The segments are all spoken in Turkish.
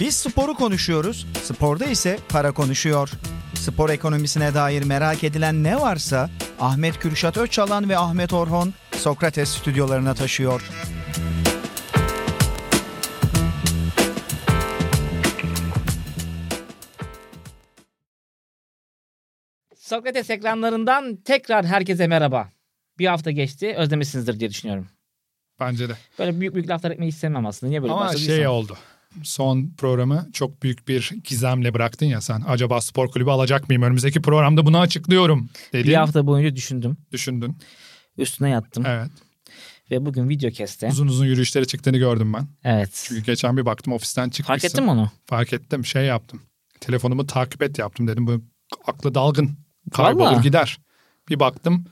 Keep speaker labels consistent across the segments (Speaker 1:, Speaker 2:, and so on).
Speaker 1: Biz sporu konuşuyoruz, sporda ise para konuşuyor. Spor ekonomisine dair merak edilen ne varsa Ahmet Kürşat Öçalan ve Ahmet Orhon Sokrates stüdyolarına taşıyor.
Speaker 2: Sokrates ekranlarından tekrar herkese merhaba. Bir hafta geçti. Özlemişsinizdir diye düşünüyorum.
Speaker 3: Bence de.
Speaker 2: Böyle büyük büyük laflar etmeyi istemem aslında. Niye böyle
Speaker 3: Ama
Speaker 2: başladıysam.
Speaker 3: şey oldu. Son programı çok büyük bir gizemle bıraktın ya sen. Acaba spor kulübü alacak mıyım? Önümüzdeki programda bunu açıklıyorum dedin.
Speaker 2: Bir hafta boyunca düşündüm.
Speaker 3: Düşündün.
Speaker 2: Üstüne yattım.
Speaker 3: Evet.
Speaker 2: Ve bugün video keste.
Speaker 3: Uzun uzun yürüyüşlere çıktığını gördüm ben.
Speaker 2: Evet.
Speaker 3: Çünkü geçen bir baktım ofisten çıkmışsın.
Speaker 2: Fark ettin mi onu?
Speaker 3: Fark ettim. Şey yaptım. Telefonumu takip et yaptım dedim. Bu aklı dalgın. Kaybolur
Speaker 2: Vallahi.
Speaker 3: gider. Bir baktım.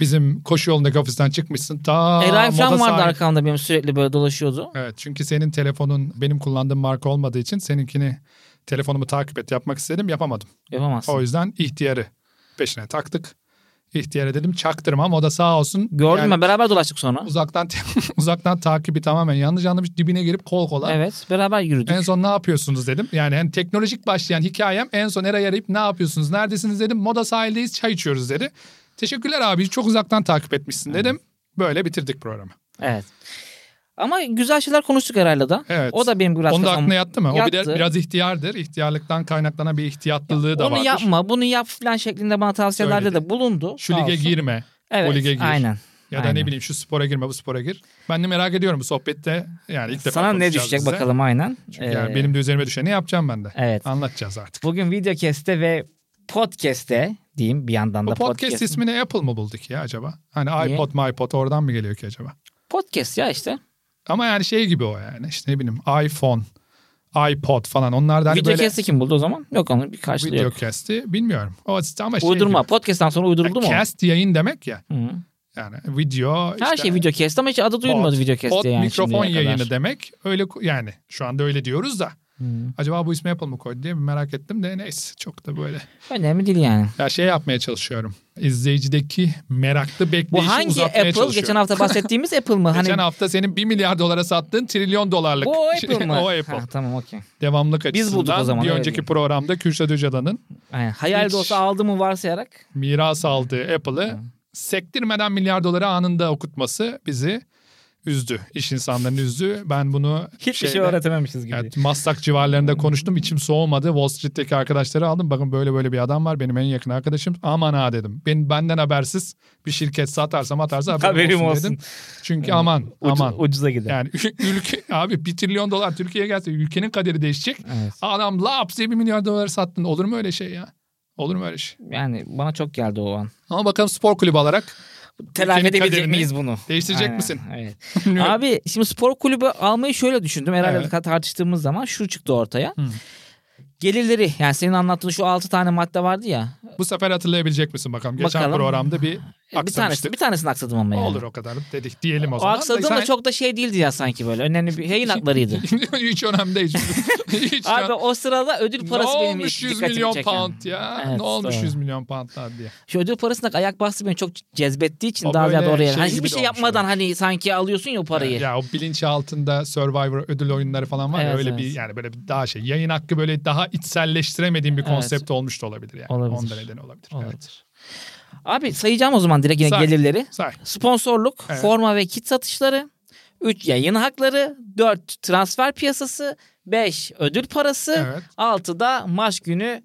Speaker 3: Bizim koşu yolundaki ofisten çıkmışsın. Ta
Speaker 2: Eray falan
Speaker 3: moda
Speaker 2: vardı
Speaker 3: sahil-
Speaker 2: arkamda benim sürekli böyle dolaşıyordu.
Speaker 3: Evet çünkü senin telefonun benim kullandığım marka olmadığı için seninkini telefonumu takip et yapmak istedim yapamadım.
Speaker 2: Yapamazsın.
Speaker 3: O yüzden ihtiyarı peşine taktık. İhtiyara dedim çaktırmam o da sağ olsun.
Speaker 2: Gördün
Speaker 3: Yani
Speaker 2: mü? Beraber dolaştık sonra.
Speaker 3: Uzaktan uzaktan takibi tamamen yanlış anlamış dibine girip kol kola.
Speaker 2: Evet. Beraber yürüdük.
Speaker 3: En son ne yapıyorsunuz dedim. Yani hani teknolojik başlayan hikayem en son Eray'ı arayıp ne yapıyorsunuz neredesiniz dedim. Moda sahildeyiz çay içiyoruz dedi. Teşekkürler abi çok uzaktan takip etmişsin dedim. Böyle bitirdik programı.
Speaker 2: Evet. Ama güzel şeyler konuştuk Eray'la da.
Speaker 3: Evet.
Speaker 2: O da benim biraz
Speaker 3: Onun da
Speaker 2: kafam-
Speaker 3: aklına yattı mı? O bir
Speaker 2: yattı.
Speaker 3: de biraz ihtiyardır. İhtiyarlıktan kaynaklanan bir ihtiyatlılığı da
Speaker 2: Onu
Speaker 3: vardır.
Speaker 2: yapma, bunu yap falan şeklinde bana tavsiyelerde
Speaker 3: Söyledi.
Speaker 2: de bulundu.
Speaker 3: Şu
Speaker 2: Sağ
Speaker 3: lige
Speaker 2: olsun.
Speaker 3: girme.
Speaker 2: Evet,
Speaker 3: lige gir.
Speaker 2: Aynen.
Speaker 3: Ya da
Speaker 2: Aynen.
Speaker 3: ne bileyim şu spora girme bu spora gir. Ben de merak ediyorum bu sohbette. Yani ilk defa
Speaker 2: Sana ne
Speaker 3: konuşacağız
Speaker 2: düşecek
Speaker 3: bize.
Speaker 2: bakalım aynen.
Speaker 3: Çünkü yani
Speaker 2: Ee,
Speaker 3: benim de üzerime düşeni yapacağım ben de.
Speaker 2: Evet.
Speaker 3: Anlatacağız artık.
Speaker 2: Bugün videocast'te ve podcast'te diyeyim bir yandan da
Speaker 3: Bu podcast,
Speaker 2: podcast.
Speaker 3: ismini Apple mı bulduk ya acaba? Hani
Speaker 2: Niye?
Speaker 3: iPod, iPod oradan mı geliyor ki acaba?
Speaker 2: Podcast ya işte.
Speaker 3: Ama yani şey gibi o yani işte ne bileyim iPhone, iPod falan onlar da hani böyle
Speaker 2: videocast'i kim buldu o zaman? Yok onun bir karşılığı yok.
Speaker 3: videocast'i bilmiyorum. O işte ama şey
Speaker 2: Uydurma. Podcast'tan sonra
Speaker 3: gibi.
Speaker 2: uyduruldu mu?
Speaker 3: Cast yayın demek ya.
Speaker 2: Hı.
Speaker 3: Yani video
Speaker 2: Her
Speaker 3: işte
Speaker 2: şey videocast ama hiç adı duyulmadı
Speaker 3: pod,
Speaker 2: videocast
Speaker 3: pod,
Speaker 2: diye yani
Speaker 3: mikrofon
Speaker 2: şimdiye kadar.
Speaker 3: yayını demek. Öyle ku- yani şu anda öyle diyoruz da.
Speaker 2: Hı.
Speaker 3: Acaba bu ismi Apple mı koydu diye bir merak ettim de neyse çok da böyle.
Speaker 2: Önemli değil yani.
Speaker 3: Ya şey yapmaya çalışıyorum. İzleyicideki meraklı bekleyişi
Speaker 2: Bu hangi
Speaker 3: uzatmaya
Speaker 2: Apple?
Speaker 3: çalışıyorum.
Speaker 2: Geçen hafta bahsettiğimiz Apple mı? Hani
Speaker 3: Geçen hafta senin 1 milyar dolara sattığın trilyon dolarlık. şey,
Speaker 2: bu o Apple mı?
Speaker 3: o Apple.
Speaker 2: Ha, tamam okey.
Speaker 3: Devamlık
Speaker 2: Biz
Speaker 3: açısından
Speaker 2: bulduk o zaman,
Speaker 3: bir
Speaker 2: öyle
Speaker 3: önceki
Speaker 2: diyeyim.
Speaker 3: programda Kürşat Öcalan'ın
Speaker 2: Aynen. Hayal
Speaker 3: Hiç-
Speaker 2: de olsa aldı mı varsayarak.
Speaker 3: miras aldığı Apple'ı sektirmeden milyar dolara anında okutması bizi üzdü. İş insanlarını üzdü. Ben bunu
Speaker 2: Hiçbir şey
Speaker 3: şeyde-
Speaker 2: öğretememişiz gibi.
Speaker 3: Evet, Maslak civarlarında konuştum. İçim soğumadı. Wall Street'teki arkadaşları aldım. Bakın böyle böyle bir adam var. Benim en yakın arkadaşım. Aman ha dedim. Ben, benden habersiz bir şirket satarsam atarsa haberim
Speaker 2: Haberim
Speaker 3: olsun,
Speaker 2: olsun.
Speaker 3: dedim. Çünkü aman
Speaker 2: Ucu-
Speaker 3: aman.
Speaker 2: Ucuza gider.
Speaker 3: Yani ülke abi bir trilyon dolar Türkiye'ye gelse ülkenin kaderi değişecek.
Speaker 2: Evet.
Speaker 3: Adam laps diye bir milyar dolar sattın. Olur mu öyle şey ya? Olur mu öyle şey?
Speaker 2: Yani bana çok geldi o an.
Speaker 3: Ama bakalım spor kulübü olarak
Speaker 2: Telafi
Speaker 3: Ülkenin
Speaker 2: edebilecek
Speaker 3: kaderini
Speaker 2: miyiz bunu?
Speaker 3: değiştirecek
Speaker 2: Aynen,
Speaker 3: misin?
Speaker 2: Evet. Abi şimdi spor kulübü almayı şöyle düşündüm. Herhalde
Speaker 3: Evet.
Speaker 2: tartıştığımız zaman şu çıktı ortaya.
Speaker 3: Hı.
Speaker 2: Gelirleri yani senin anlattığın şu 6 tane madde vardı ya.
Speaker 3: Bu sefer hatırlayabilecek misin bakalım. Geçen
Speaker 2: Bakalım.
Speaker 3: programda bir
Speaker 2: Bir
Speaker 3: aksamıştı.
Speaker 2: tanesi bir tanesini aksadım ama yani.
Speaker 3: Olur o kadar dedik diyelim o
Speaker 2: O
Speaker 3: zaman.
Speaker 2: aksadığım da
Speaker 3: Sen-
Speaker 2: çok da şey değildi ya sanki böyle. Önemli bir yayın haklarıydı.
Speaker 3: Hiç önemli değil. Hiç
Speaker 2: Abi
Speaker 3: önemli-
Speaker 2: o sırada ödül parası
Speaker 3: ne
Speaker 2: benim
Speaker 3: olmuş 100
Speaker 2: dikkatimi
Speaker 3: milyon
Speaker 2: çeken.
Speaker 3: pound ya?
Speaker 2: Evet,
Speaker 3: ne olmuş
Speaker 2: doğru.
Speaker 3: 100 milyon poundlar diye.
Speaker 2: Şu ödül parasındaki ayak bastı beni çok cezbettiği için
Speaker 3: O
Speaker 2: daha ziyade
Speaker 3: böyle
Speaker 2: oraya.
Speaker 3: şey
Speaker 2: hani
Speaker 3: gibi
Speaker 2: hiçbir
Speaker 3: de
Speaker 2: şey
Speaker 3: olmuş
Speaker 2: yapmadan hani sanki alıyorsun ya o parayı.
Speaker 3: Ya o bilinç altında Survivor ödül oyunları falan var ya
Speaker 2: Evet,
Speaker 3: öyle
Speaker 2: evet.
Speaker 3: bir yani böyle bir daha şey yayın hakkı böyle daha içselleştiremediğim bir
Speaker 2: Evet.
Speaker 3: konsept olmuş da olabilir yani.
Speaker 2: Olabilir.
Speaker 3: Onda nedeni olabilir.
Speaker 2: Olabilir.
Speaker 3: Evet.
Speaker 2: Abi sayacağım o zaman direkt yine
Speaker 3: Say.
Speaker 2: gelirleri.
Speaker 3: Say.
Speaker 2: Sponsorluk,
Speaker 3: Evet.
Speaker 2: forma ve kit satışları, 3 yayın hakları, 4 transfer piyasası, 5 ödül parası,
Speaker 3: Evet.
Speaker 2: altı da maç günü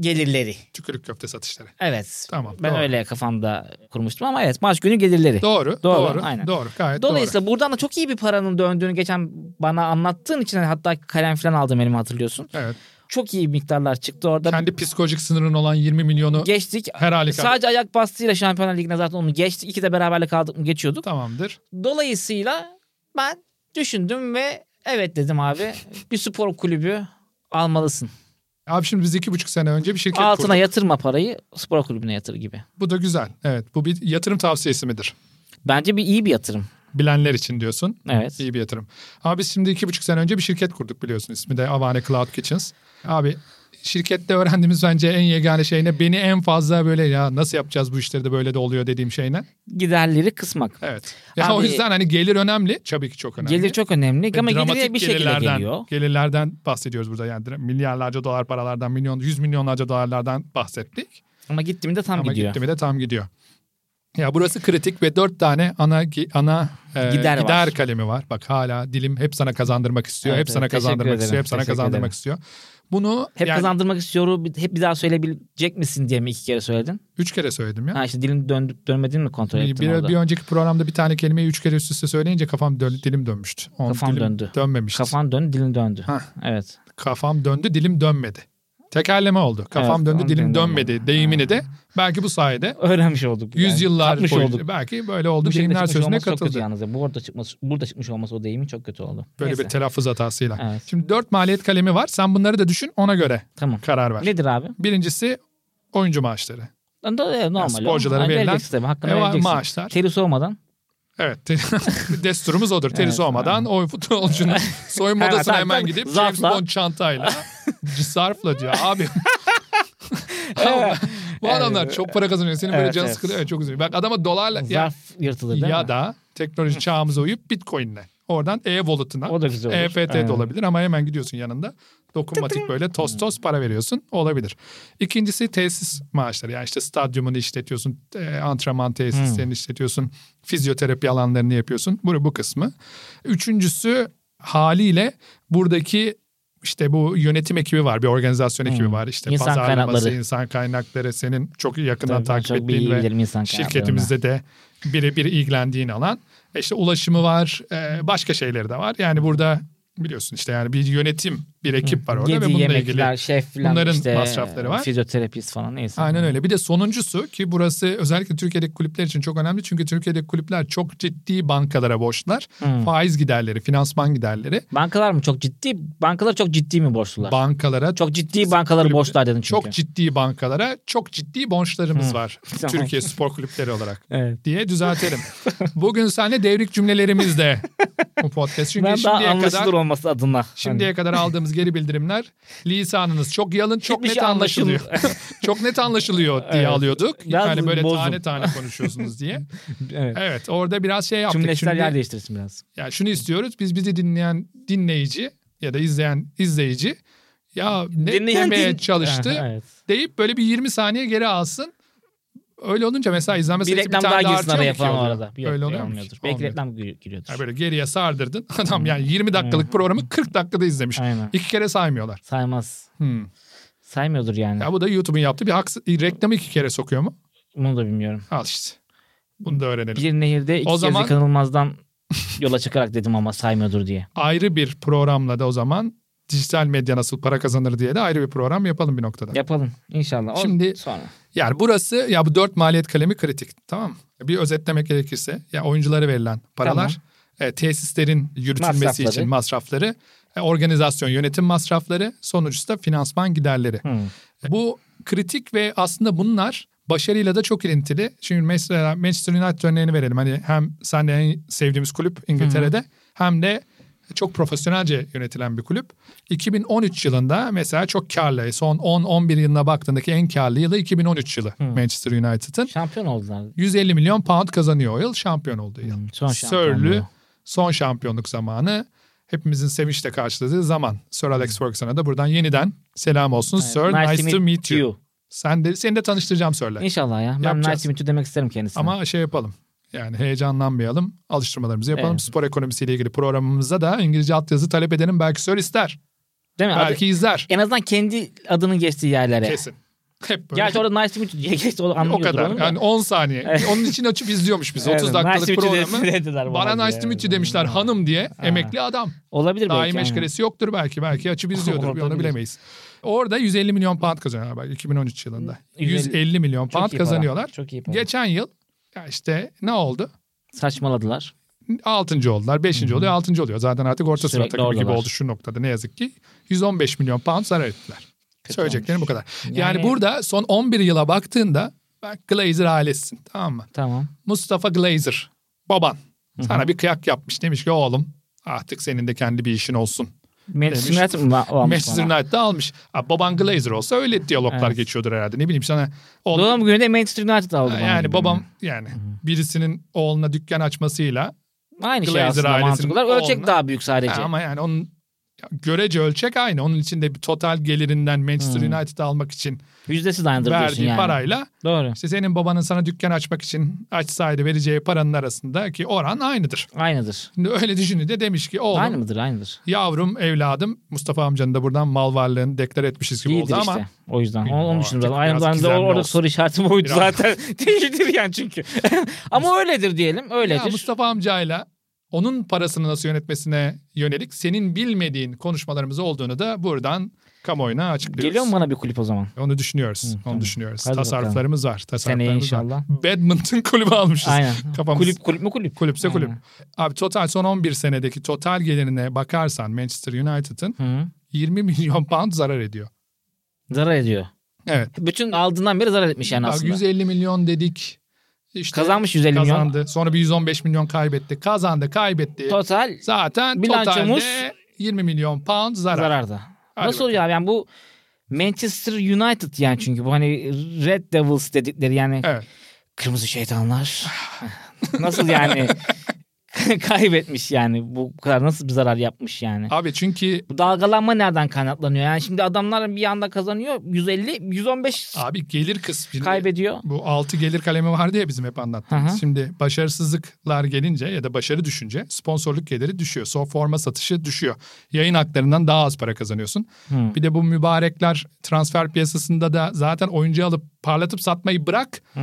Speaker 2: gelirleri.
Speaker 3: Tükürük köfte satışları.
Speaker 2: Evet.
Speaker 3: Tamam.
Speaker 2: Ben
Speaker 3: doğru.
Speaker 2: öyle kafamda kurmuştum ama evet maç günü gelirleri.
Speaker 3: Doğru.
Speaker 2: Doğru,
Speaker 3: Doğru.
Speaker 2: aynen.
Speaker 3: Doğru. Gayet
Speaker 2: Dolayısıyla buradan da çok iyi bir paranın döndüğünü geçen bana anlattığın için hani hatta kalem falan aldım elime hatırlıyorsun.
Speaker 3: doğru. Evet.
Speaker 2: Çok iyi miktarlar çıktı orada.
Speaker 3: Kendi psikolojik sınırın olan 20 milyonu
Speaker 2: Geçtik.
Speaker 3: her halükarda.
Speaker 2: Sadece ayak bastığıyla Şampiyonlar Ligi'ne zaten onu geçtik. İki de beraberlik aldık mı geçiyorduk.
Speaker 3: Tamamdır.
Speaker 2: Dolayısıyla ben düşündüm ve evet dedim abi bir spor kulübü almalısın.
Speaker 3: Abi şimdi biz iki buçuk sene önce bir şirket
Speaker 2: Altına
Speaker 3: kurduk.
Speaker 2: yatırma parayı spor kulübüne yatır gibi.
Speaker 3: Bu da güzel. Evet. Bu bir yatırım tavsiyesi midir?
Speaker 2: Bence bir iyi bir yatırım.
Speaker 3: Bilenler için diyorsun.
Speaker 2: Evet.
Speaker 3: İyi bir yatırım. Ama biz şimdi iki buçuk sene önce bir şirket kurduk biliyorsun. ismi de Avane Cloud Kitchens. Abi şirkette öğrendiğimiz bence en yegane şey ne? Beni en fazla böyle ya nasıl yapacağız bu işleri de böyle de oluyor dediğim şey ne?
Speaker 2: Giderleri kısmak.
Speaker 3: Evet. Ya o
Speaker 2: Abi-
Speaker 3: yüzden hani gelir önemli. Tabii ki çok önemli.
Speaker 2: Gelir çok önemli
Speaker 3: Ve
Speaker 2: ama
Speaker 3: dramatik
Speaker 2: geliri bir şekilde
Speaker 3: gelirlerden-
Speaker 2: geliyor.
Speaker 3: Gelirlerden bahsediyoruz burada yani direkt milyarlarca dolar paralardan, milyon, yüz milyonlarca dolarlardan bahsettik.
Speaker 2: Ama gittiğimde tam
Speaker 3: Ama
Speaker 2: gidiyor.
Speaker 3: gitti mi de tam gidiyor. Ya burası kritik ve dört tane ana gi- ana e,
Speaker 2: Gider
Speaker 3: gider,
Speaker 2: var.
Speaker 3: kalemi var. Bak hala dilim hep sana kazandırmak istiyor,
Speaker 2: Evet,
Speaker 3: hep sana
Speaker 2: evet, teşekkür
Speaker 3: kazandırmak
Speaker 2: ederim,
Speaker 3: istiyor, hep sana
Speaker 2: teşekkür
Speaker 3: kazandırmak
Speaker 2: ederim.
Speaker 3: istiyor. Bunu
Speaker 2: Hep
Speaker 3: yani
Speaker 2: kazandırmak istiyorum. bir- Hep bir daha söyleyebilecek misin diye mi iki kere söyledin?
Speaker 3: üç kere söyledim ya.
Speaker 2: Ha işte dilin döndüp dönmediğini mi kontrol
Speaker 3: Bir,
Speaker 2: ettin
Speaker 3: bir,
Speaker 2: orada?
Speaker 3: bir önceki programda bir tane kelimeyi üç kere üst üste söyleyince kafam dön, dilim dönmüştü. Onun
Speaker 2: Kafam
Speaker 3: dilim
Speaker 2: döndü.
Speaker 3: Dönmemişti.
Speaker 2: Kafan döndü, dilin döndü.
Speaker 3: Hah.
Speaker 2: Evet.
Speaker 3: kafam döndü dilim dönmedi. Tekerleme oldu. Kafam
Speaker 2: Evet,
Speaker 3: döndü
Speaker 2: kafam
Speaker 3: dilim
Speaker 2: döndü.
Speaker 3: dönmedi deyimini de belki bu sayede
Speaker 2: Öğrenmiş olduk. yani.
Speaker 3: yüzyıllar
Speaker 2: Katmış
Speaker 3: boyunca
Speaker 2: olduk.
Speaker 3: belki böyle
Speaker 2: Bu
Speaker 3: oldu.
Speaker 2: şekilde
Speaker 3: Deyimler
Speaker 2: çıkmış
Speaker 3: sözüne
Speaker 2: olması çok kötü
Speaker 3: katıldı.
Speaker 2: yalnız. ya. Burada çıkması, burada çıkmış olması o deyimin çok kötü oldu.
Speaker 3: Böyle
Speaker 2: Neyse.
Speaker 3: bir telaffuz hatasıyla.
Speaker 2: Evet.
Speaker 3: Şimdi dört maliyet kalemi var. Sen bunları da düşün ona göre
Speaker 2: Tamam.
Speaker 3: karar ver.
Speaker 2: Nedir abi?
Speaker 3: Birincisi oyuncu maaşları.
Speaker 2: Lan da- e, Normal. o.
Speaker 3: sporculara
Speaker 2: Ha,
Speaker 3: verilen
Speaker 2: vereceksin tabii, hakkını
Speaker 3: e, ma-
Speaker 2: vereceksin.
Speaker 3: maaşlar.
Speaker 2: Terisi olmadan.
Speaker 3: Evet. Desturumuz odur. Terisi
Speaker 2: Evet,
Speaker 3: olmadan o futbolcunun soyunma
Speaker 2: Evet,
Speaker 3: odasına
Speaker 2: tabii,
Speaker 3: hemen
Speaker 2: tabii.
Speaker 3: gidip James
Speaker 2: Zarfla.
Speaker 3: Bond çantayla sarfla diyor. Abi bu adamlar çok para kazanıyor. Senin böyle
Speaker 2: Evet,
Speaker 3: canı
Speaker 2: evet.
Speaker 3: sıkılıyor. Çok üzülüyor. Bak adama dolarla ya
Speaker 2: Zarf yırtılır değil
Speaker 3: ya
Speaker 2: mi?
Speaker 3: da teknoloji çağımıza uyup Bitcoin'le. Oradan e-wallet'ına.
Speaker 2: O da güzel olur.
Speaker 3: EFT
Speaker 2: Evet.
Speaker 3: E de olabilir ama hemen gidiyorsun yanında. Dokunmatik böyle toz toz para veriyorsun. Olabilir. İkincisi tesis maaşları. Yani işte stadyumunu işletiyorsun. e, antrenman tesislerini
Speaker 2: Hmm.
Speaker 3: işletiyorsun. Fizyoterapi alanlarını yapıyorsun. Bu, bu kısmı. Üçüncüsü haliyle buradaki işte bu yönetim ekibi var. Bir organizasyon ekibi var. İşte
Speaker 2: Hmm. İnsan
Speaker 3: pazarlaması,
Speaker 2: kaynakları.
Speaker 3: insan kaynakları senin çok yakından
Speaker 2: Tabii,
Speaker 3: takip
Speaker 2: çok
Speaker 3: ettiğin
Speaker 2: iyi
Speaker 3: ve
Speaker 2: bilirim insan kaynaklarını.
Speaker 3: şirketimizde de birebir ilgilendiğin alan. E İşte ulaşımı var, e, başka şeyleri de var. Yani burada biliyorsun işte yani bir yönetim, bir ekip var orada ve
Speaker 2: Yedi
Speaker 3: bununla
Speaker 2: yemekler,
Speaker 3: ilgili.
Speaker 2: şef falan
Speaker 3: bunların
Speaker 2: işte
Speaker 3: masrafları var.
Speaker 2: Fizyoterapist falan neyse.
Speaker 3: Aynen öyle. Bir de sonuncusu ki burası özellikle Türkiye'deki kulüpler için çok önemli. Çünkü Türkiye'deki kulüpler çok ciddi bankalara borçlar.
Speaker 2: Hmm.
Speaker 3: Faiz giderleri, finansman giderleri
Speaker 2: Bankalar mı çok ciddi? Bankalar çok ciddi mi borçlular?
Speaker 3: bankalara
Speaker 2: çok ciddi bankaları
Speaker 3: kulüpte-
Speaker 2: borçlar dedin çünkü.
Speaker 3: çok ciddi bankalara çok ciddi borçlarımız
Speaker 2: Hı.
Speaker 3: var.
Speaker 2: Tamam.
Speaker 3: Türkiye spor kulüpleri olarak.
Speaker 2: Evet.
Speaker 3: diye düzeltelim. Bugün seninle devrik cümlelerimizde bu podcast. Çünkü
Speaker 2: Ben daha
Speaker 3: şimdiye
Speaker 2: anlaşılır Hani.
Speaker 3: kadar
Speaker 2: olması adına.
Speaker 3: şimdiye kadar aldığımız geri bildirimler lisanınız çok yalın, çok
Speaker 2: Hiçbir
Speaker 3: net
Speaker 2: şey
Speaker 3: anlaşılıyor. çok net anlaşılıyor diye
Speaker 2: Evet.
Speaker 3: alıyorduk.
Speaker 2: Biraz
Speaker 3: yani böyle
Speaker 2: bozdum.
Speaker 3: tane tane konuşuyorsunuz diye.
Speaker 2: Hani- evet.
Speaker 3: Evet, orada biraz şey yaptık.
Speaker 2: Cümleler
Speaker 3: Şimdi-
Speaker 2: yer değiştirsin biraz.
Speaker 3: ya şunu istiyoruz. Biz bizi dinleyen dinleyici ya da izleyen izleyici ya ne
Speaker 2: Dinleyen
Speaker 3: demeye
Speaker 2: din-
Speaker 3: çalıştı
Speaker 2: Ha, evet.
Speaker 3: deyip böyle bir 20 saniye geri alsın. Öyle olunca mesela izlenme
Speaker 2: Bir
Speaker 3: sayısı bir
Speaker 2: reklam
Speaker 3: tane
Speaker 2: daha
Speaker 3: daha
Speaker 2: girsin
Speaker 3: artıyor mu
Speaker 2: araya
Speaker 3: ki
Speaker 2: yapalım
Speaker 3: oluyor?
Speaker 2: arada. Yok,
Speaker 3: Öyle oluyor mu?
Speaker 2: olmuyordur. Hmm. Belki
Speaker 3: Olmuyor.
Speaker 2: reklam gir- giriyordur.
Speaker 3: Ya böyle geriye sardırdın. Adam yani 20 dakikalık programı 40 dakikada izlemiş.
Speaker 2: Aynen.
Speaker 3: İki kere saymıyorlar.
Speaker 2: Saymaz.
Speaker 3: Hmm.
Speaker 2: Saymıyordur yani.
Speaker 3: Ya bu da YouTube'un yaptığı bir haksız reklamı iki kere sokuyor mu?
Speaker 2: Bunu da bilmiyorum.
Speaker 3: Al işte. Bunu da öğrenelim.
Speaker 2: Bir nehirde iki
Speaker 3: O
Speaker 2: kez
Speaker 3: zaman-
Speaker 2: yıkanılmazdan yola çıkarak dedim ama saymıyordur diye.
Speaker 3: Ayrı bir programla da o zaman dijital medya nasıl para kazanır diye de ayrı bir program yapalım bir noktada.
Speaker 2: Yapalım inşallah. O-
Speaker 3: Şimdi-
Speaker 2: sonra.
Speaker 3: Yani burası ya bu dört maliyet kalemi kritik tamam mı? Bir özetlemek gerekirse ya oyunculara verilen paralar, e, tesislerin yürütülmesi
Speaker 2: Masrafları.
Speaker 3: için masrafları, e, organizasyon yönetim masrafları, sonucu da finansman giderleri. E,
Speaker 2: Hmm.
Speaker 3: Bu kritik ve aslında bunlar başarıyla da çok ilintili. Şimdi mesela Manchester United örneğini verelim. Hani hem senle en sevdiğimiz kulüp İngiltere'de hem de çok profesyonelce yönetilen bir kulüp. 2013 yılında mesela çok karlı. Son 10-11 yılına baktığındaki en karlı yılı 2013 yılı Manchester United'ın.
Speaker 2: Şampiyon oldular.
Speaker 3: 150 milyon pound kazanıyor o yıl. Şampiyon olduğu yıl.
Speaker 2: Hmm, Son
Speaker 3: Sörlü
Speaker 2: şampiyonluğu.
Speaker 3: son şampiyonluk zamanı hepimizin sevinçle karşıladığı zaman. Sir Alex Ferguson'a da buradan yeniden selam olsun.
Speaker 2: Evet.
Speaker 3: Sir nice, to meet you. Sen de seni de tanıştıracağım Sir'le.
Speaker 2: İnşallah ya. Ben
Speaker 3: Yapacağız.
Speaker 2: nice to meet you demek isterim kendisine.
Speaker 3: Ama şey yapalım. Yani heyecanlanmayalım. Alıştırmalarımızı yapalım.
Speaker 2: Evet.
Speaker 3: Spor ekonomisiyle ilgili programımızda da İngilizce altyazı talep edelim. Belki Sir ister.
Speaker 2: Değil mi? Adı-
Speaker 3: belki izler.
Speaker 2: en azından kendi adının geçtiği yerlere.
Speaker 3: Kesin. Hep böyle.
Speaker 2: Gerçi orada nice to meet you diye geçti. O
Speaker 3: o
Speaker 2: anlıyordur
Speaker 3: kadar.
Speaker 2: onu da.
Speaker 3: Yani 10 saniye.
Speaker 2: Evet.
Speaker 3: Onun için açıp izliyormuş biz. 30
Speaker 2: Evet,
Speaker 3: dakikalık
Speaker 2: nice to meet you
Speaker 3: programı.
Speaker 2: dediler
Speaker 3: Bana
Speaker 2: bana
Speaker 3: nice to meet you
Speaker 2: diye.
Speaker 3: demişler hanım diye. Emekli adam.
Speaker 2: Olabilir belki.
Speaker 3: Daim
Speaker 2: aynen.
Speaker 3: eşkeresi yoktur belki. Belki açıp izliyordur. bir onu
Speaker 2: Olabilir.
Speaker 3: bilemeyiz. Orada 150 milyon pound kazanıyorlar belki 2013 yılında.
Speaker 2: 150
Speaker 3: 150 milyon
Speaker 2: Çok
Speaker 3: pound
Speaker 2: iyi para.
Speaker 3: kazanıyorlar.
Speaker 2: Çok iyi para.
Speaker 3: Geçen yıl ya işte ne oldu?
Speaker 2: Saçmaladılar.
Speaker 3: Altıncı oldular. Beşinci oluyor. Altıncı oluyor. Zaten artık orta sıra
Speaker 2: Sürekli
Speaker 3: takımı gibi
Speaker 2: oradalar.
Speaker 3: oldu şu noktada ne yazık ki. 115 milyon pound zarar ettiler.
Speaker 2: Kötü
Speaker 3: Söyleyeceklerim bu kadar. Yani,
Speaker 2: Yani-
Speaker 3: burada son 11 yıla baktığında bak Glazer ailesin tamam mı?
Speaker 2: Tamam.
Speaker 3: Mustafa Glazer baban sana bir kıyak yapmış. Demiş ki oğlum artık senin de kendi bir işin olsun.
Speaker 2: Manchester
Speaker 3: Demiş.
Speaker 2: United mi va- almış
Speaker 3: Manchester
Speaker 2: bana?
Speaker 3: United'da almış. Ha, baban Glazer olsa öyle diyaloglar
Speaker 2: Evet.
Speaker 3: geçiyordur herhalde. Ne bileyim sana. oğlum-
Speaker 2: Doğum günü de Manchester United aldı bana.
Speaker 3: yani babam yani birisinin oğluna dükkan açmasıyla
Speaker 2: Aynı şey
Speaker 3: Glazer
Speaker 2: aslında
Speaker 3: ailesinin
Speaker 2: mantıklar. Ölçek
Speaker 3: oğluna-
Speaker 2: daha büyük sadece.
Speaker 3: Ha, Ee, ama yani onun ya, görece ölçek aynı. Onun içinde bir total gelirinden Manchester
Speaker 2: Hmm.
Speaker 3: United'ı almak için
Speaker 2: Yüzdesi dayandır diyorsun
Speaker 3: verdiği
Speaker 2: yani.
Speaker 3: parayla
Speaker 2: Doğru.
Speaker 3: işte senin babanın sana dükkan açmak için açsaydı vereceği paranın arasındaki oran aynıdır.
Speaker 2: Aynıdır.
Speaker 3: Şimdi öyle düşününce de demiş ki oğlum
Speaker 2: Aynı mıdır? Aynıdır.
Speaker 3: yavrum evladım Mustafa amcanın da buradan mal varlığını deklar etmişiz gibi
Speaker 2: İyidir
Speaker 3: oldu
Speaker 2: işte.
Speaker 3: ama
Speaker 2: O yüzden.
Speaker 3: Bilmiyorum,
Speaker 2: Onun
Speaker 3: o
Speaker 2: için
Speaker 3: artık
Speaker 2: biraz aynı
Speaker 3: biraz
Speaker 2: zamanda
Speaker 3: gizemli
Speaker 2: orada
Speaker 3: olsun.
Speaker 2: soru işaretim oydu
Speaker 3: Biraz.
Speaker 2: zaten. Değildir yani çünkü. Ama öyledir diyelim.
Speaker 3: ya
Speaker 2: Öyledir.
Speaker 3: Mustafa amcayla onun parasını nasıl yönetmesine yönelik senin bilmediğin konuşmalarımız olduğunu da buradan kamuoyuna açıklıyoruz.
Speaker 2: Geliyor mu bana bir kulüp o zaman?
Speaker 3: Onu düşünüyoruz.
Speaker 2: Hı,
Speaker 3: onu
Speaker 2: tamam.
Speaker 3: düşünüyoruz.
Speaker 2: Hadi
Speaker 3: Tasarruflarımız var.
Speaker 2: Seneye
Speaker 3: Tasarruflarımız var.
Speaker 2: inşallah.
Speaker 3: Badminton kulübü almışız.
Speaker 2: Aynen.
Speaker 3: Kafamız.
Speaker 2: Kulüp kulüp mü kulüp?
Speaker 3: Kulüpse kulüp.
Speaker 2: Aynen.
Speaker 3: Abi total son 11 senedeki total gelirine bakarsan Manchester United'ın
Speaker 2: Hı.
Speaker 3: 20 milyon pound zarar ediyor.
Speaker 2: Zarar ediyor.
Speaker 3: Evet.
Speaker 2: Bütün aldığından beri zarar etmiş yani
Speaker 3: Bak,
Speaker 2: aslında.
Speaker 3: 150 milyon dedik. İşte
Speaker 2: Kazanmış 150 milyon.
Speaker 3: Kazandı. Sonra bir 115 milyon kaybetti. Kazandı, kaybetti.
Speaker 2: Total
Speaker 3: Zaten
Speaker 2: Bilançomuz-
Speaker 3: totalde 20 milyon pound zarar.
Speaker 2: zararda.
Speaker 3: Hadi
Speaker 2: Nasıl
Speaker 3: bakalım.
Speaker 2: oluyor abi? Yani bu Manchester United yani çünkü bu hani Red Devils dedikleri yani
Speaker 3: Evet.
Speaker 2: kırmızı şeytanlar. nasıl yani kaybetmiş yani bu kadar nasıl bir zarar yapmış yani.
Speaker 3: Abi çünkü
Speaker 2: Bu dalgalanma nereden kaynaklanıyor? Yani şimdi adamlar bir anda kazanıyor 150 115
Speaker 3: abi gelir kısmı
Speaker 2: kaybediyor.
Speaker 3: Bu altı gelir kalemi vardı ya bizim hep anlattığımız.
Speaker 2: Hı hı.
Speaker 3: Şimdi başarısızlıklar gelince ya da başarı düşünce sponsorluk geliri düşüyor. So forma satışı düşüyor. Yayın haklarından daha az para kazanıyorsun.
Speaker 2: Hı.
Speaker 3: Bir de bu mübarekler transfer piyasasında da zaten oyuncu alıp parlatıp satmayı bırak.
Speaker 2: Hı.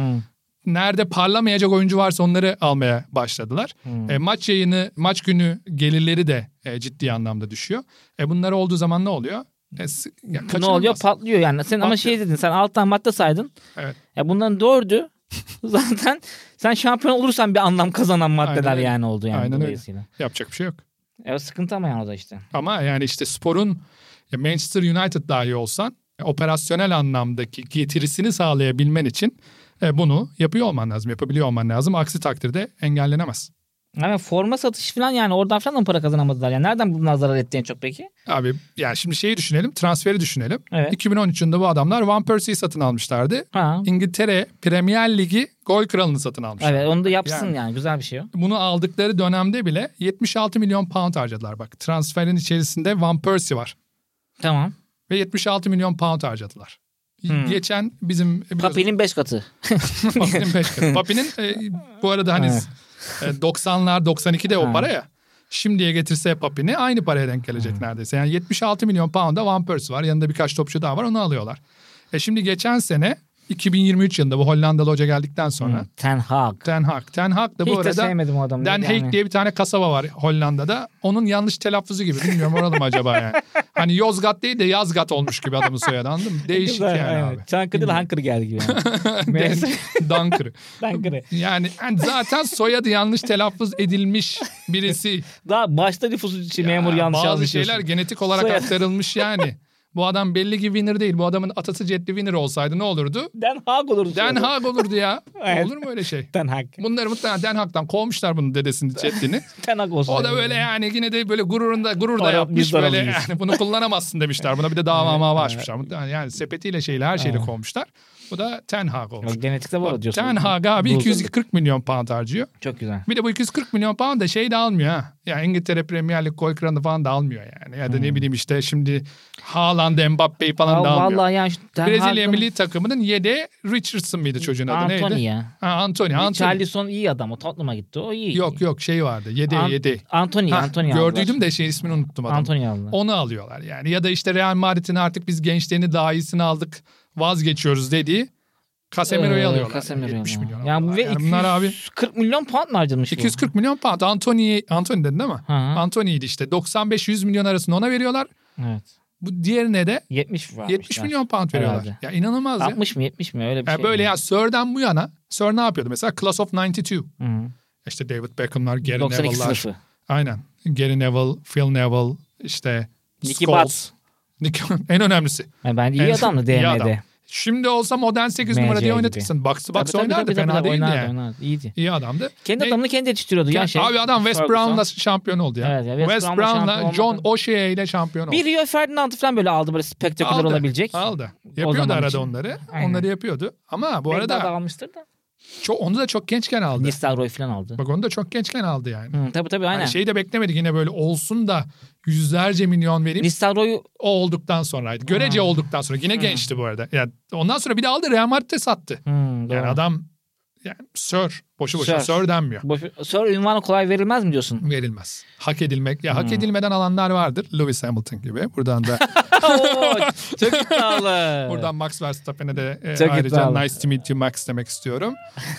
Speaker 3: Nerede parlamayacak oyuncu varsa onları almaya başladılar.
Speaker 2: Hı.
Speaker 3: E, maç yayını, maç günü gelirleri de e, ciddi anlamda düşüyor. E, bunlar olduğu zaman ne oluyor? E, s- ya,
Speaker 2: ne
Speaker 3: kaçınılmaz.
Speaker 2: oluyor? Patlıyor yani. Sen ama
Speaker 3: Patlıyor.
Speaker 2: şey dedin. Sen alt tane madde saydın.
Speaker 3: Evet.
Speaker 2: Ya bunların dördü zaten sen şampiyon olursan bir anlam kazanan maddeler
Speaker 3: Aynen öyle.
Speaker 2: yani oldu yani
Speaker 3: Aynen öyle.
Speaker 2: dolayısıyla.
Speaker 3: Yapacak bir şey yok.
Speaker 2: Evet sıkıntı ama yani o da işte.
Speaker 3: Ama yani işte sporun ya Manchester United dahi olsan e, operasyonel anlamdaki getirisini sağlayabilmen için e, bunu yapıyor olman lazım, yapabiliyor olman lazım. Aksi takdirde engellenemez.
Speaker 2: Yani forma satışı falan yani oradan falan da mı para kazanamadılar? Yani nereden bunlar zarar etti en çok peki?
Speaker 3: Abi yani şimdi şeyi düşünelim, transferi düşünelim.
Speaker 2: Evet.
Speaker 3: 2013 yılında bu adamlar Van Persie'yi satın almışlardı.
Speaker 2: Ha.
Speaker 3: İngiltere Premier Ligi gol kralını satın almışlar.
Speaker 2: Evet onu da yapsın yani,
Speaker 3: Yani.
Speaker 2: güzel bir şey o.
Speaker 3: Bunu aldıkları dönemde bile 76 milyon pound harcadılar. Bak transferin içerisinde Van Persie var
Speaker 2: Tamam.
Speaker 3: ve 76 milyon pound harcadılar.
Speaker 2: Hmm.
Speaker 3: Geçen bizim e, biliyorsun-
Speaker 2: Papi'nin 5 katı.
Speaker 3: Papi'nin beş katı. Papi'nin e, bu arada hani
Speaker 2: Evet.
Speaker 3: e, 90'lar 92'de
Speaker 2: Ha.
Speaker 3: o para ya. Şimdiye getirse Papi'ni aynı paraya denk gelecek neredeyse. Yani 76 milyon pound'a Van Persie var. Yanında birkaç topçu daha var onu alıyorlar. E şimdi geçen sene 2023 yılında bu Hollandalı hoca geldikten sonra
Speaker 2: Hı, Ten Hag.
Speaker 3: Ten Hag. Ten Hag da bu
Speaker 2: Hiç de
Speaker 3: arada
Speaker 2: sevmedim o adamı.
Speaker 3: Den
Speaker 2: Yani
Speaker 3: Haag diye bir tane kasaba var Hollanda'da. Onun yanlış telaffuzu gibi. Bilmiyorum oralı mı acaba yani. Hani Yozgat değil de Yazgat olmuş gibi adamın soyadı anladın mı? Değişik
Speaker 2: E, güzel,
Speaker 3: yani
Speaker 2: aynen.
Speaker 3: abi.
Speaker 2: Çankırı ile Hankır geldi gibi. Yani. Meğerse
Speaker 3: Dunkirk.
Speaker 2: Hankır'ı.
Speaker 3: Yani, yani zaten soyadı yanlış telaffuz edilmiş birisi.
Speaker 2: Daha başta nüfusu için memur yanlış yazmış.
Speaker 3: Bazı şeyler
Speaker 2: diyorsun.
Speaker 3: genetik olarak
Speaker 2: Soyadı.
Speaker 3: aktarılmış yani. Bu adam belli ki winner değil. Bu adamın atası Jetli winner olsaydı ne olurdu?
Speaker 2: Den Hag Şey olur.
Speaker 3: Den Haag olurdu ya.
Speaker 2: Evet.
Speaker 3: Olur mu öyle şey?
Speaker 2: Ten Hag.
Speaker 3: Bunları mutlaka Den Haag'dan kovmuşlar bunun dedesini Jetli'ni.
Speaker 2: Ten Hag olsun.
Speaker 3: O da böyle yani yine de böyle gururunda gurur da
Speaker 2: Para
Speaker 3: yapmış
Speaker 2: bizden
Speaker 3: böyle
Speaker 2: alıyoruz.
Speaker 3: yani bunu kullanamazsın demişler. Buna bir de dava mava açmışlar. Muhtemelen Yani sepetiyle şeyle her şeyle kovmuşlar. Bu da Ten Hag olmuş.
Speaker 2: Yok, Genetikte var o diyorsun.
Speaker 3: Ten Hag abi
Speaker 2: Doğru.
Speaker 3: 240 milyon pound harcıyor.
Speaker 2: Çok güzel.
Speaker 3: Bir de bu 240 milyon pound da şey de almıyor ha. Ya İngiltere Premier Lig gol kralı falan da almıyor yani. Ya da ne bileyim işte şimdi Haaland, Mbappe'yi falan da
Speaker 2: Aa,
Speaker 3: almıyor.
Speaker 2: Vallahi yani şu Ten
Speaker 3: Brezilya
Speaker 2: Hag'ın-
Speaker 3: milli takımının yedeği Richardson mıydı çocuğun adı
Speaker 2: Anthony
Speaker 3: neydi?
Speaker 2: ya.
Speaker 3: Ha, Anthony. Anthony.
Speaker 2: Charlison iyi adam. O Tottenham'a gitti. O iyi.
Speaker 3: Yok yok şey vardı. Yedeği
Speaker 2: An-
Speaker 3: yedeği.
Speaker 2: Anthony.
Speaker 3: Ha,
Speaker 2: Anthony
Speaker 3: Gördüydüm de şey ismini unuttum adamın.
Speaker 2: Anthony aldı.
Speaker 3: Onu alıyorlar yani. Ya da işte Real Madrid'in artık biz gençlerini daha iyisini aldık vazgeçiyoruz dediği Casemiro'yu
Speaker 2: Ee,
Speaker 3: alıyorlar.
Speaker 2: Casemiro'yu
Speaker 3: yani 70 milyon.
Speaker 2: alıyorlar. Yani, bu
Speaker 3: alıyorlar.
Speaker 2: ve
Speaker 3: Yani bunlar abi
Speaker 2: 40 milyon pound mı harcamış bu?
Speaker 3: 240 milyon pound. Anthony, Anthony dedin değil mi?
Speaker 2: Hı hı.
Speaker 3: Anthony'ydi işte. 95-100 milyon arasında ona veriyorlar.
Speaker 2: Evet.
Speaker 3: Bu diğerine de
Speaker 2: 70 var.
Speaker 3: 70 milyon pound veriyorlar.
Speaker 2: Ah, Herhalde.
Speaker 3: Ya inanılmaz ya.
Speaker 2: 60 mı 70 mi öyle bir
Speaker 3: Ya
Speaker 2: şey.
Speaker 3: böyle
Speaker 2: mi?
Speaker 3: ya Sir'den bu yana Sir ne yapıyordu? Mesela Class of 92.
Speaker 2: Hı.
Speaker 3: İşte David Beckham'lar, Gary
Speaker 2: 92
Speaker 3: Neville'lar.
Speaker 2: sınıfı.
Speaker 3: Aynen. Gary Neville, Phil Neville, işte
Speaker 2: Nicky
Speaker 3: Scholes. Nicky- en önemlisi.
Speaker 2: Yani ben iyi
Speaker 3: En-
Speaker 2: adamdı
Speaker 3: iyi adam.
Speaker 2: DM'de.
Speaker 3: Şimdi olsa modern 8 numara
Speaker 2: MC
Speaker 3: diye
Speaker 2: gibi.
Speaker 3: oynatırsın. Box to
Speaker 2: Tabii,
Speaker 3: box
Speaker 2: tabii,
Speaker 3: oynardı.
Speaker 2: tabii, tabii,
Speaker 3: Fena değildi
Speaker 2: oynardı,
Speaker 3: yani.
Speaker 2: oynardı. İyiydi.
Speaker 3: İyi adamdı.
Speaker 2: Kendi
Speaker 3: Ne-
Speaker 2: adamını kendi yetiştiriyordu ya şey.
Speaker 3: Abi adam West
Speaker 2: Ferguson.
Speaker 3: Brown'la şampiyon oldu ya.
Speaker 2: Evet ya, West
Speaker 3: West,
Speaker 2: Brown'la şampiyon
Speaker 3: Brown'la John
Speaker 2: olmadı.
Speaker 3: O'Shea ile şampiyon oldu.
Speaker 2: Bir Rio Ferdinand'ı falan böyle aldı böyle spektaküler
Speaker 3: Aldı,
Speaker 2: olabilecek.
Speaker 3: Aldı.
Speaker 2: O
Speaker 3: Yapıyordu
Speaker 2: zaman
Speaker 3: arada
Speaker 2: için.
Speaker 3: onları.
Speaker 2: Aynen.
Speaker 3: Onları yapıyordu. Ama bu
Speaker 2: Belki daha da
Speaker 3: arada
Speaker 2: almıştır da.
Speaker 3: çok, onu da çok gençken aldı.
Speaker 2: Nistelrooy falan aldı.
Speaker 3: Bak onu da çok gençken aldı yani.
Speaker 2: Hı, tabii tabii aynen.
Speaker 3: Hani şeyi de beklemedik yine böyle olsun da yüzlerce milyon vereyim.
Speaker 2: Nistelrooy'u
Speaker 3: O olduktan sonraydı. Görece
Speaker 2: Hmm.
Speaker 3: olduktan sonra. Yine
Speaker 2: Hmm.
Speaker 3: gençti bu arada. Yani ondan sonra bir de aldı Real Madrid'e sattı.
Speaker 2: Hı, doğru.
Speaker 3: Yani adam yani sör. Boşu boşuna
Speaker 2: Sir.
Speaker 3: sör denmiyor.
Speaker 2: Boş- sonra ünvanı kolay verilmez mi diyorsun?
Speaker 3: Verilmez. Hak edilmek. Ya hak
Speaker 2: Hmm.
Speaker 3: edilmeden alanlar vardır. Lewis Hamilton gibi. Buradan da
Speaker 2: Oo, çok iddialı.
Speaker 3: Buradan Max Verstappen'e de e,
Speaker 2: Çok
Speaker 3: ayrıca
Speaker 2: iddialı.
Speaker 3: nice to meet you Max demek istiyorum.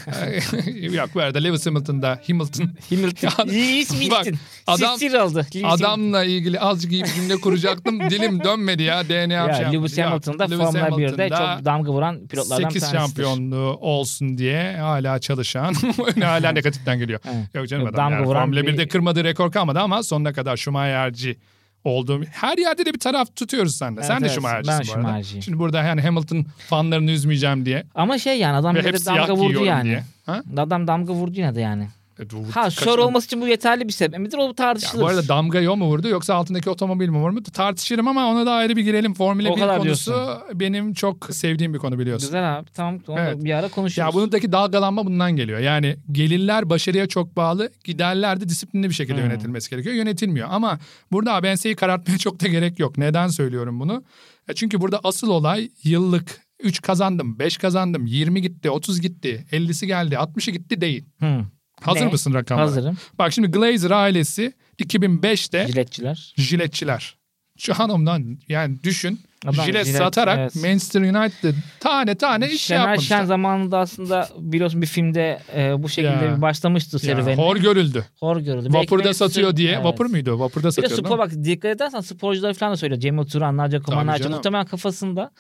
Speaker 3: E, Yok bu arada Lewis Hamilton'da Hamilton
Speaker 2: Hamilton. Lewis
Speaker 3: Bak,
Speaker 2: Hamilton.
Speaker 3: adam-
Speaker 2: Sisir aldı. Lewis Hamilton.
Speaker 3: adamla ilgili azıcık iyi bir cümle kuracaktım. Dilim dönmedi ya DNA
Speaker 2: Ya,
Speaker 3: şey
Speaker 2: Lewis
Speaker 3: yapmadı.
Speaker 2: Hamilton da
Speaker 3: Lewis
Speaker 2: Formula 1'de
Speaker 3: Hamilton'da
Speaker 2: çok damga vuran pilotlardan bir
Speaker 3: 8
Speaker 2: tanesidir.
Speaker 3: şampiyonluğu olsun diye hala çalışan, hala negatiften geliyor.
Speaker 2: Evet.
Speaker 3: Yok canım
Speaker 2: Yok,
Speaker 3: adam
Speaker 2: damga
Speaker 3: yani
Speaker 2: vuran
Speaker 3: Formula
Speaker 2: bir-
Speaker 3: 1'de kırmadığı rekor kalmadı ama sonuna kadar Schumacher'ci olduğum her yerde de bir taraf tutuyoruz senle.
Speaker 2: Evet,
Speaker 3: Sen de
Speaker 2: evet,
Speaker 3: Schumacher'cisin
Speaker 2: ben
Speaker 3: bu arada.
Speaker 2: Schumacher'ciyim.
Speaker 3: Şimdi burada yani Hamilton fanlarını üzmeyeceğim diye
Speaker 2: Ama şey yani adam
Speaker 3: ve
Speaker 2: yine de
Speaker 3: hepsi yak
Speaker 2: damga vurdu
Speaker 3: yiyorum
Speaker 2: yani.
Speaker 3: diye. Ha?
Speaker 2: Adam damga vurdu yine de yani.
Speaker 3: E, bu-
Speaker 2: Ha
Speaker 3: kaçınılmaz.
Speaker 2: şör olması için bu yeterli bir sebep midir? O
Speaker 3: Ya
Speaker 2: tartışılır.
Speaker 3: bu arada damgayı o mu vurdu yoksa altındaki otomobil mi vurdu tartışırım ama ona da ayrı bir girelim. Formula
Speaker 2: O
Speaker 3: 1
Speaker 2: kadar
Speaker 3: konusu benim çok sevdiğim bir konu biliyorsun.
Speaker 2: Güzel abi tamam onu
Speaker 3: Evet.
Speaker 2: bir ara konuşuruz.
Speaker 3: Ya bunundaki dalgalanma bundan geliyor. Yani gelirler başarıya çok bağlı, giderler de disiplinli bir şekilde
Speaker 2: Hı.
Speaker 3: yönetilmesi gerekiyor. Yönetilmiyor ama burada ABNS'yi karartmaya çok da gerek yok. Neden söylüyorum bunu? E Çünkü burada asıl olay yıllık 3 kazandım, 5 kazandım, 20 gitti, 30 gitti, 50'si geldi, 60'ı gitti değil.
Speaker 2: Hı,
Speaker 3: Hazır
Speaker 2: Ne?
Speaker 3: mısın rakamlara?
Speaker 2: hazırım.
Speaker 3: Bak şimdi Glazer ailesi 2005'te
Speaker 2: Jiletçiler.
Speaker 3: jiletçiler. Şu hanımdan yani düşün
Speaker 2: Adam
Speaker 3: jilet,
Speaker 2: jilet,
Speaker 3: satarak
Speaker 2: evet.
Speaker 3: Manchester United tane tane iş
Speaker 2: Şener
Speaker 3: yapmışlar.
Speaker 2: Şen zamanında aslında biliyorsun bir filmde e, bu şekilde
Speaker 3: Ya.
Speaker 2: bir başlamıştı
Speaker 3: Ya,
Speaker 2: serüveni. Hor,
Speaker 3: hor görüldü.
Speaker 2: görüldü.
Speaker 3: Vapurda
Speaker 2: Belki-
Speaker 3: satıyor diye.
Speaker 2: Evet.
Speaker 3: Vapur muydu? o? Vapurda
Speaker 2: Bir de
Speaker 3: satıyor.
Speaker 2: spor bak dikkat edersen sporcular falan da söylüyor. Cemil Turan, Naci Kuman,
Speaker 3: Tabii
Speaker 2: Naci
Speaker 3: canım.
Speaker 2: muhtemelen kafasında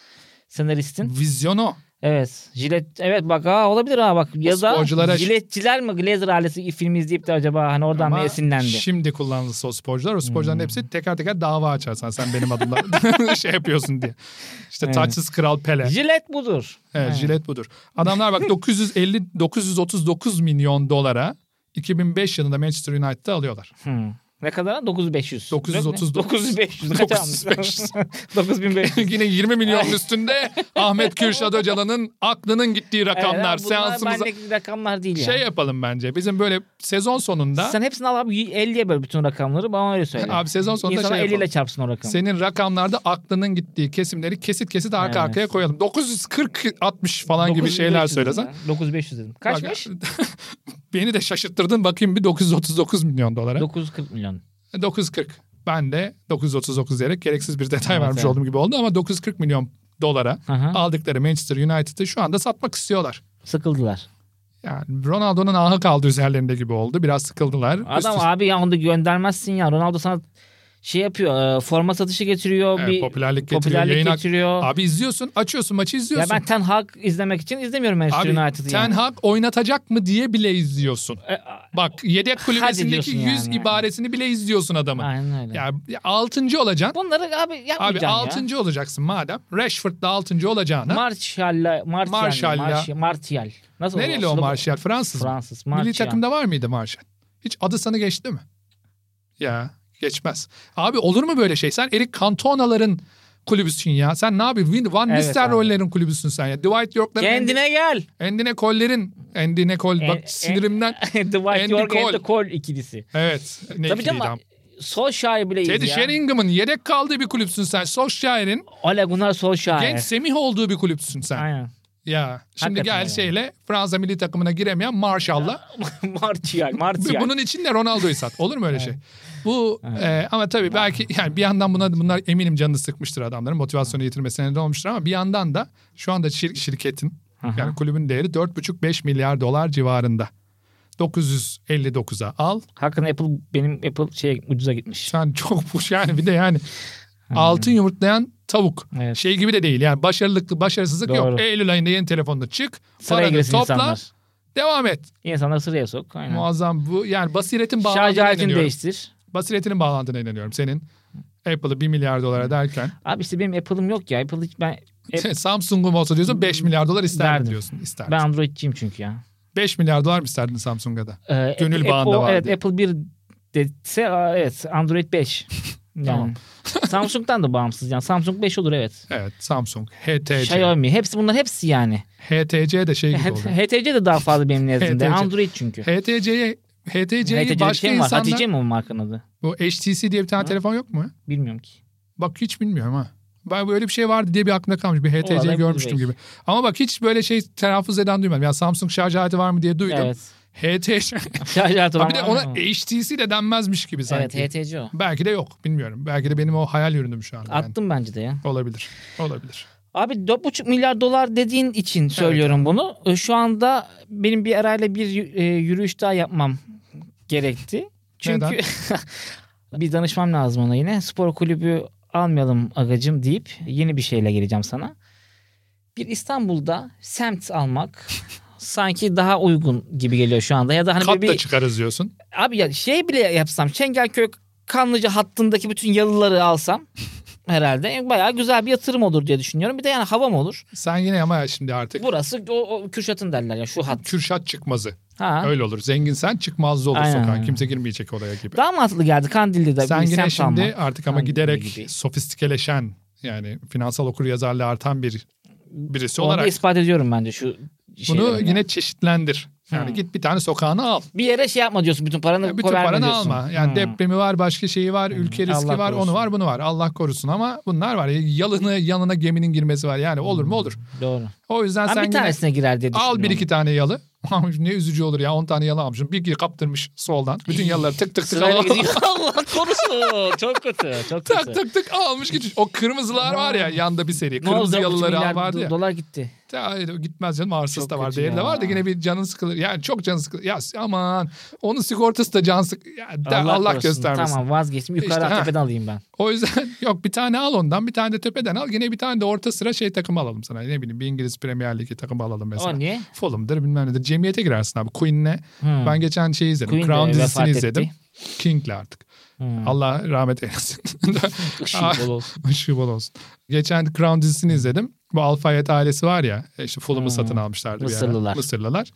Speaker 2: senaristin.
Speaker 3: Vizyono.
Speaker 2: Evet. Jilet. Evet bak ha olabilir ha bak. Ya da
Speaker 3: sporculara-
Speaker 2: jiletçiler mi Glazer ailesi filmi izleyip de acaba hani oradan
Speaker 3: Ama
Speaker 2: mı esinlendi?
Speaker 3: Şimdi kullanılırsa o sporcular. O
Speaker 2: Hmm.
Speaker 3: sporcuların hepsi teker teker dava açarsan sen benim adımla şey yapıyorsun diye. İşte
Speaker 2: Evet.
Speaker 3: taçsız kral Pele.
Speaker 2: Jilet budur.
Speaker 3: Evet,
Speaker 2: Evet.
Speaker 3: jilet budur. Adamlar bak 950 939 milyon dolara 2005 yılında Manchester United'ı alıyorlar.
Speaker 2: Hmm. Ne kadar? 9500.
Speaker 3: 939.
Speaker 2: 9500. Kaç almış?
Speaker 3: 9500.
Speaker 2: 9500.
Speaker 3: Yine 20 milyon üstünde Ahmet Kürşat Öcalan'ın aklının gittiği rakamlar
Speaker 2: Evet, bunlar
Speaker 3: seansımıza.
Speaker 2: bendeki rakamlar değil
Speaker 3: Şey
Speaker 2: ya.
Speaker 3: yapalım bence. Bizim böyle sezon sonunda
Speaker 2: Sen hepsini al abi 50'ye böl bütün rakamları bana öyle söyle.
Speaker 3: abi sezon sonunda
Speaker 2: İnsanlar
Speaker 3: şey
Speaker 2: 50 ile
Speaker 3: yapalım.
Speaker 2: çarpsın o rakamı.
Speaker 3: Senin rakamlarda aklının gittiği kesimleri kesit kesit arka
Speaker 2: Evet.
Speaker 3: arkaya koyalım. 940 60 falan gibi
Speaker 2: 9500
Speaker 3: şeyler
Speaker 2: dedim
Speaker 3: söylesen.
Speaker 2: ya. 9500 dedim. Kaçmış?
Speaker 3: Bak- Beni de şaşırttırdın bakayım bir 939 milyon dolara.
Speaker 2: 940 milyon.
Speaker 3: 940. Ben de 939 diyerek gereksiz bir detay
Speaker 2: Evet,
Speaker 3: vermiş
Speaker 2: evet.
Speaker 3: olduğum gibi oldu ama 940 milyon dolara
Speaker 2: Aha.
Speaker 3: aldıkları Manchester United'ı şu anda satmak istiyorlar.
Speaker 2: Sıkıldılar.
Speaker 3: Yani Ronaldo'nun ahı kaldı üzerlerinde gibi oldu. Biraz sıkıldılar. Üst
Speaker 2: Adam
Speaker 3: üste-
Speaker 2: abi ya onu da göndermezsin ya. Ronaldo sana şey yapıyor. e, forma satışı getiriyor.
Speaker 3: Evet,
Speaker 2: bir
Speaker 3: e, popülerlik getiriyor,
Speaker 2: popülerlik
Speaker 3: yayın hak-
Speaker 2: getiriyor.
Speaker 3: Abi izliyorsun, açıyorsun maçı
Speaker 2: ya
Speaker 3: izliyorsun.
Speaker 2: ben Ten Hag izlemek için izlemiyorum Manchester
Speaker 3: Abi
Speaker 2: United'ı.
Speaker 3: Ten
Speaker 2: yani.
Speaker 3: Hag oynatacak mı diye bile izliyorsun.
Speaker 2: E, a-
Speaker 3: Bak yedek kulübesindeki
Speaker 2: diyorsun
Speaker 3: yüz
Speaker 2: yani.
Speaker 3: ibaresini bile izliyorsun adamın.
Speaker 2: Aynen öyle.
Speaker 3: Ya, ya altıncı olacaksın.
Speaker 2: Bunları abi yapmayacaksın
Speaker 3: Abi
Speaker 2: ya.
Speaker 3: altıncı olacaksın madem. Rashford'da altıncı olacağına.
Speaker 2: Martial'la Martial
Speaker 3: Martial'la.
Speaker 2: Martial Martial. Nasıl
Speaker 3: Nereli o
Speaker 2: Slovan-
Speaker 3: Martial? Fransız mı?
Speaker 2: Fransız. Martial.
Speaker 3: Milli takımda var mıydı Martial? Hiç adı sana geçti mi? Ya geçmez. Abi olur mu böyle şey? Sen Eric Cantona'ların kulübüsün ya. Sen ne yapıyorsun? Vin- Van
Speaker 2: Evet
Speaker 3: Nistelrooy'ların kulübüsün sen ya. Dwight York'ların...
Speaker 2: Kendine E, gel.
Speaker 3: Endine Koller'in... Endine Kol...
Speaker 2: En- en-
Speaker 3: Bak sinirimden...
Speaker 2: Dwight
Speaker 3: Andy
Speaker 2: York
Speaker 3: Cole.
Speaker 2: Andy Cole ikilisi.
Speaker 3: Evet. Ne
Speaker 2: Tabii
Speaker 3: ikiliydi
Speaker 2: canım.
Speaker 3: ama.
Speaker 2: Solskjaer bile
Speaker 3: Teddy
Speaker 2: iyiydi ya.
Speaker 3: Sheringham'ın yedek kaldığı bir kulüpsün sen. Solskjaer'in
Speaker 2: Ole Gunnar Solskjaer.
Speaker 3: genç semih olduğu bir kulüpsün sen.
Speaker 2: Aynen.
Speaker 3: Ya şimdi
Speaker 2: Hakikaten
Speaker 3: gel
Speaker 2: öyle.
Speaker 3: şeyle Fransa milli takımına giremeyen Marshall'la
Speaker 2: Martial.
Speaker 3: Ve
Speaker 2: Martial.
Speaker 3: Bunun için de Ronaldo'yu sat. Olur mu öyle şey? Bu e, ama tabii belki yani bir yandan buna bunlar eminim canını sıkmıştır adamların. Motivasyonu yitirmesine neden olmuştur ama bir yandan da şu anda şir- şirketin
Speaker 2: Aha.
Speaker 3: yani kulübün değeri 4,5-5 milyar dolar civarında. 959'a al.
Speaker 2: Hakkında Apple benim Apple şey ucuza gitmiş.
Speaker 3: Sen çok bu şey, yani bir de yani altın yumurtlayan tavuk.
Speaker 2: Evet.
Speaker 3: Şey gibi de değil yani başarılıklı başarısızlık yok.
Speaker 2: Doğru.
Speaker 3: Eylül ayında yeni telefonla çık.
Speaker 2: Sıraya
Speaker 3: Paranı
Speaker 2: girsin
Speaker 3: topla.
Speaker 2: insanlar.
Speaker 3: Devam et.
Speaker 2: İnsanları sıraya sok. Aynen.
Speaker 3: Muazzam bu. Yani basiretin
Speaker 2: Şarj
Speaker 3: bağlandığına
Speaker 2: aletini
Speaker 3: inanıyorum.
Speaker 2: değiştir.
Speaker 3: Basiretinin bağlandığına inanıyorum. Senin Apple'ı 1 milyar dolara derken
Speaker 2: Abi işte benim Apple'ım yok ya. Apple hiç ben E-
Speaker 3: Samsung'um olsa diyorsun 5 milyar dolar isterdim
Speaker 2: Derdim.
Speaker 3: diyorsun. İsterdim.
Speaker 2: Ben Android'ciyim çünkü ya.
Speaker 3: 5 milyar dolar mı isterdin Samsung'a da?
Speaker 2: Ee,
Speaker 3: Gönül
Speaker 2: Apple-
Speaker 3: bağında var
Speaker 2: Evet
Speaker 3: diye.
Speaker 2: Apple 1 dese aa, evet Android 5. Yani.
Speaker 3: Tamam.
Speaker 2: Samsung'dan da bağımsız yani. Samsung 5 olur evet.
Speaker 3: Evet Samsung. HTC.
Speaker 2: Xiaomi. Hepsi bunlar hepsi yani.
Speaker 3: HTC de şey gibi oluyor.
Speaker 2: HTC de daha fazla benim nezdimde.
Speaker 3: HTC.
Speaker 2: Android çünkü.
Speaker 3: HTC'ye HTC'yi
Speaker 2: HTC'de
Speaker 3: başka
Speaker 2: şey mi var?
Speaker 3: insanlar...
Speaker 2: Hatice mi o markanın adı?
Speaker 3: Bu HTC diye bir tane telefon yok mu? ya?
Speaker 2: Bilmiyorum ki.
Speaker 3: Bak hiç bilmiyorum ha. Ben böyle bir şey vardı diye bir aklımda kalmış. Bir HTC
Speaker 2: Olabilir
Speaker 3: görmüştüm
Speaker 2: belki.
Speaker 3: gibi. Ama bak hiç böyle şey telaffuz eden duymadım. Ya Samsung şarj aleti var mı diye duydum.
Speaker 2: Evet.
Speaker 3: HTC.
Speaker 2: Şarj aleti olan
Speaker 3: bir de
Speaker 2: var
Speaker 3: ona
Speaker 2: mı?
Speaker 3: HTC de denmezmiş gibi sanki.
Speaker 2: Evet HTC o.
Speaker 3: Belki de yok bilmiyorum. Belki de benim o hayal ürünüm şu anda. yani.
Speaker 2: Attım bence de ya.
Speaker 3: Olabilir. Olabilir.
Speaker 2: Abi 4,5 milyar dolar dediğin için söylüyorum bunu. E, Şu anda benim bir arayla bir yü- e, yürüyüş daha yapmam gerekti. Çünkü
Speaker 3: Neden?
Speaker 2: bir danışmam lazım ona yine. Spor kulübü almayalım agacım deyip yeni bir şeyle geleceğim sana. Bir İstanbul'da semt almak sanki daha uygun gibi geliyor şu anda. Ya da hani
Speaker 3: Kat
Speaker 2: böyle
Speaker 3: da
Speaker 2: bir
Speaker 3: çıkarız diyorsun.
Speaker 2: Abi ya şey bile yapsam Çengelköy Kanlıca hattındaki bütün yalıları alsam herhalde yani bayağı güzel bir yatırım olur diye düşünüyorum. Bir de yani havam olur.
Speaker 3: Sen yine ama şimdi artık
Speaker 2: Burası o, o Kürşat'ın derler ya şu hat.
Speaker 3: Kürşat çıkmazı.
Speaker 2: Ha.
Speaker 3: Öyle olur. Zengin sen çıkmazlı olur
Speaker 2: Aynen,
Speaker 3: sokağa.
Speaker 2: aynen.
Speaker 3: Kimse girmeyecek oraya gibi.
Speaker 2: Daha mantıklı geldi Kandilli'de.
Speaker 3: sen
Speaker 2: bir
Speaker 3: yine
Speaker 2: semt
Speaker 3: şimdi
Speaker 2: almak.
Speaker 3: artık ama
Speaker 2: Kandilli
Speaker 3: giderek
Speaker 2: gibi.
Speaker 3: sofistikeleşen yani finansal okuryazarlığı artan bir birisi
Speaker 2: Onu da
Speaker 3: olarak
Speaker 2: ispat ediyorum bence şu
Speaker 3: bunu
Speaker 2: şeyleri.
Speaker 3: yine çeşitlendir. Yani
Speaker 2: Hmm.
Speaker 3: git bir tane sokağını al.
Speaker 2: bir yere şey yapma diyorsun bütün paranı
Speaker 3: Yani E, bütün
Speaker 2: koverme
Speaker 3: paranı
Speaker 2: diyorsun.
Speaker 3: alma. Yani
Speaker 2: Hmm.
Speaker 3: depremi var, başka şeyi var, ülke riski
Speaker 2: Allah
Speaker 3: var,
Speaker 2: korusun.
Speaker 3: onu var, bunu var. Allah korusun ama bunlar var. Yalını yanına geminin girmesi var. Yani olur mu olur.
Speaker 2: Doğru.
Speaker 3: O yüzden
Speaker 2: Ben bir
Speaker 3: sen yine
Speaker 2: tanesine girer diye düşünüyorum.
Speaker 3: al bir iki tane yalı. Ama ne üzücü olur ya 10 tane yalı almışım. Bir kaptırmış soldan. Bütün yalıları tık tık tık
Speaker 2: Sırayla
Speaker 3: al.
Speaker 2: gidiyor. Allah korusun. Çok kötü. Çok kötü.
Speaker 3: tak tak tak almış gitmiş. O kırmızılar var ya yanda bir seri.
Speaker 2: Ne oldu?
Speaker 3: Kırmızı
Speaker 2: Üç
Speaker 3: yalıları
Speaker 2: milyar
Speaker 3: al vardı ya.
Speaker 2: Dolar gitti.
Speaker 3: Ta- Gitmez canım arsız
Speaker 2: Çok
Speaker 3: da var.
Speaker 2: kötü
Speaker 3: Değeri de
Speaker 2: ya.
Speaker 3: var da yine bir canın sıkılır. Yani çok canın sıkılır. Ya aman onun sigortası da can sık. Ya, da- Allah,
Speaker 2: korusun.
Speaker 3: göstermesin.
Speaker 2: Tamam vazgeçtim. Yukarı
Speaker 3: İşte, ha.
Speaker 2: tepeden alayım ben.
Speaker 3: O yüzden yok bir tane al ondan bir tane de tepeden al. Yine bir tane de orta sıra şey takımı alalım sana. Ne bileyim bir İngiliz Premier Ligi takımı alalım mesela.
Speaker 2: O niye?
Speaker 3: Fulham'dır bilmem nedir. Cemiyete girersin abi. Queen'le.
Speaker 2: Hmm.
Speaker 3: Ben geçen şeyi izledim.
Speaker 2: Queen de
Speaker 3: Crown
Speaker 2: vefat
Speaker 3: dizisini
Speaker 2: etti.
Speaker 3: izledim. King'le artık.
Speaker 2: Hmm.
Speaker 3: Allah rahmet eylesin.
Speaker 2: Işık bol olsun.
Speaker 3: Işığı bol olsun. Geçen Crown dizisini izledim. Bu Al Fayed ailesi var ya işte Fulham'ı
Speaker 2: Hmm.
Speaker 3: satın almışlardı. bir ara.
Speaker 2: Mısırlılar.
Speaker 3: Mısırlılar.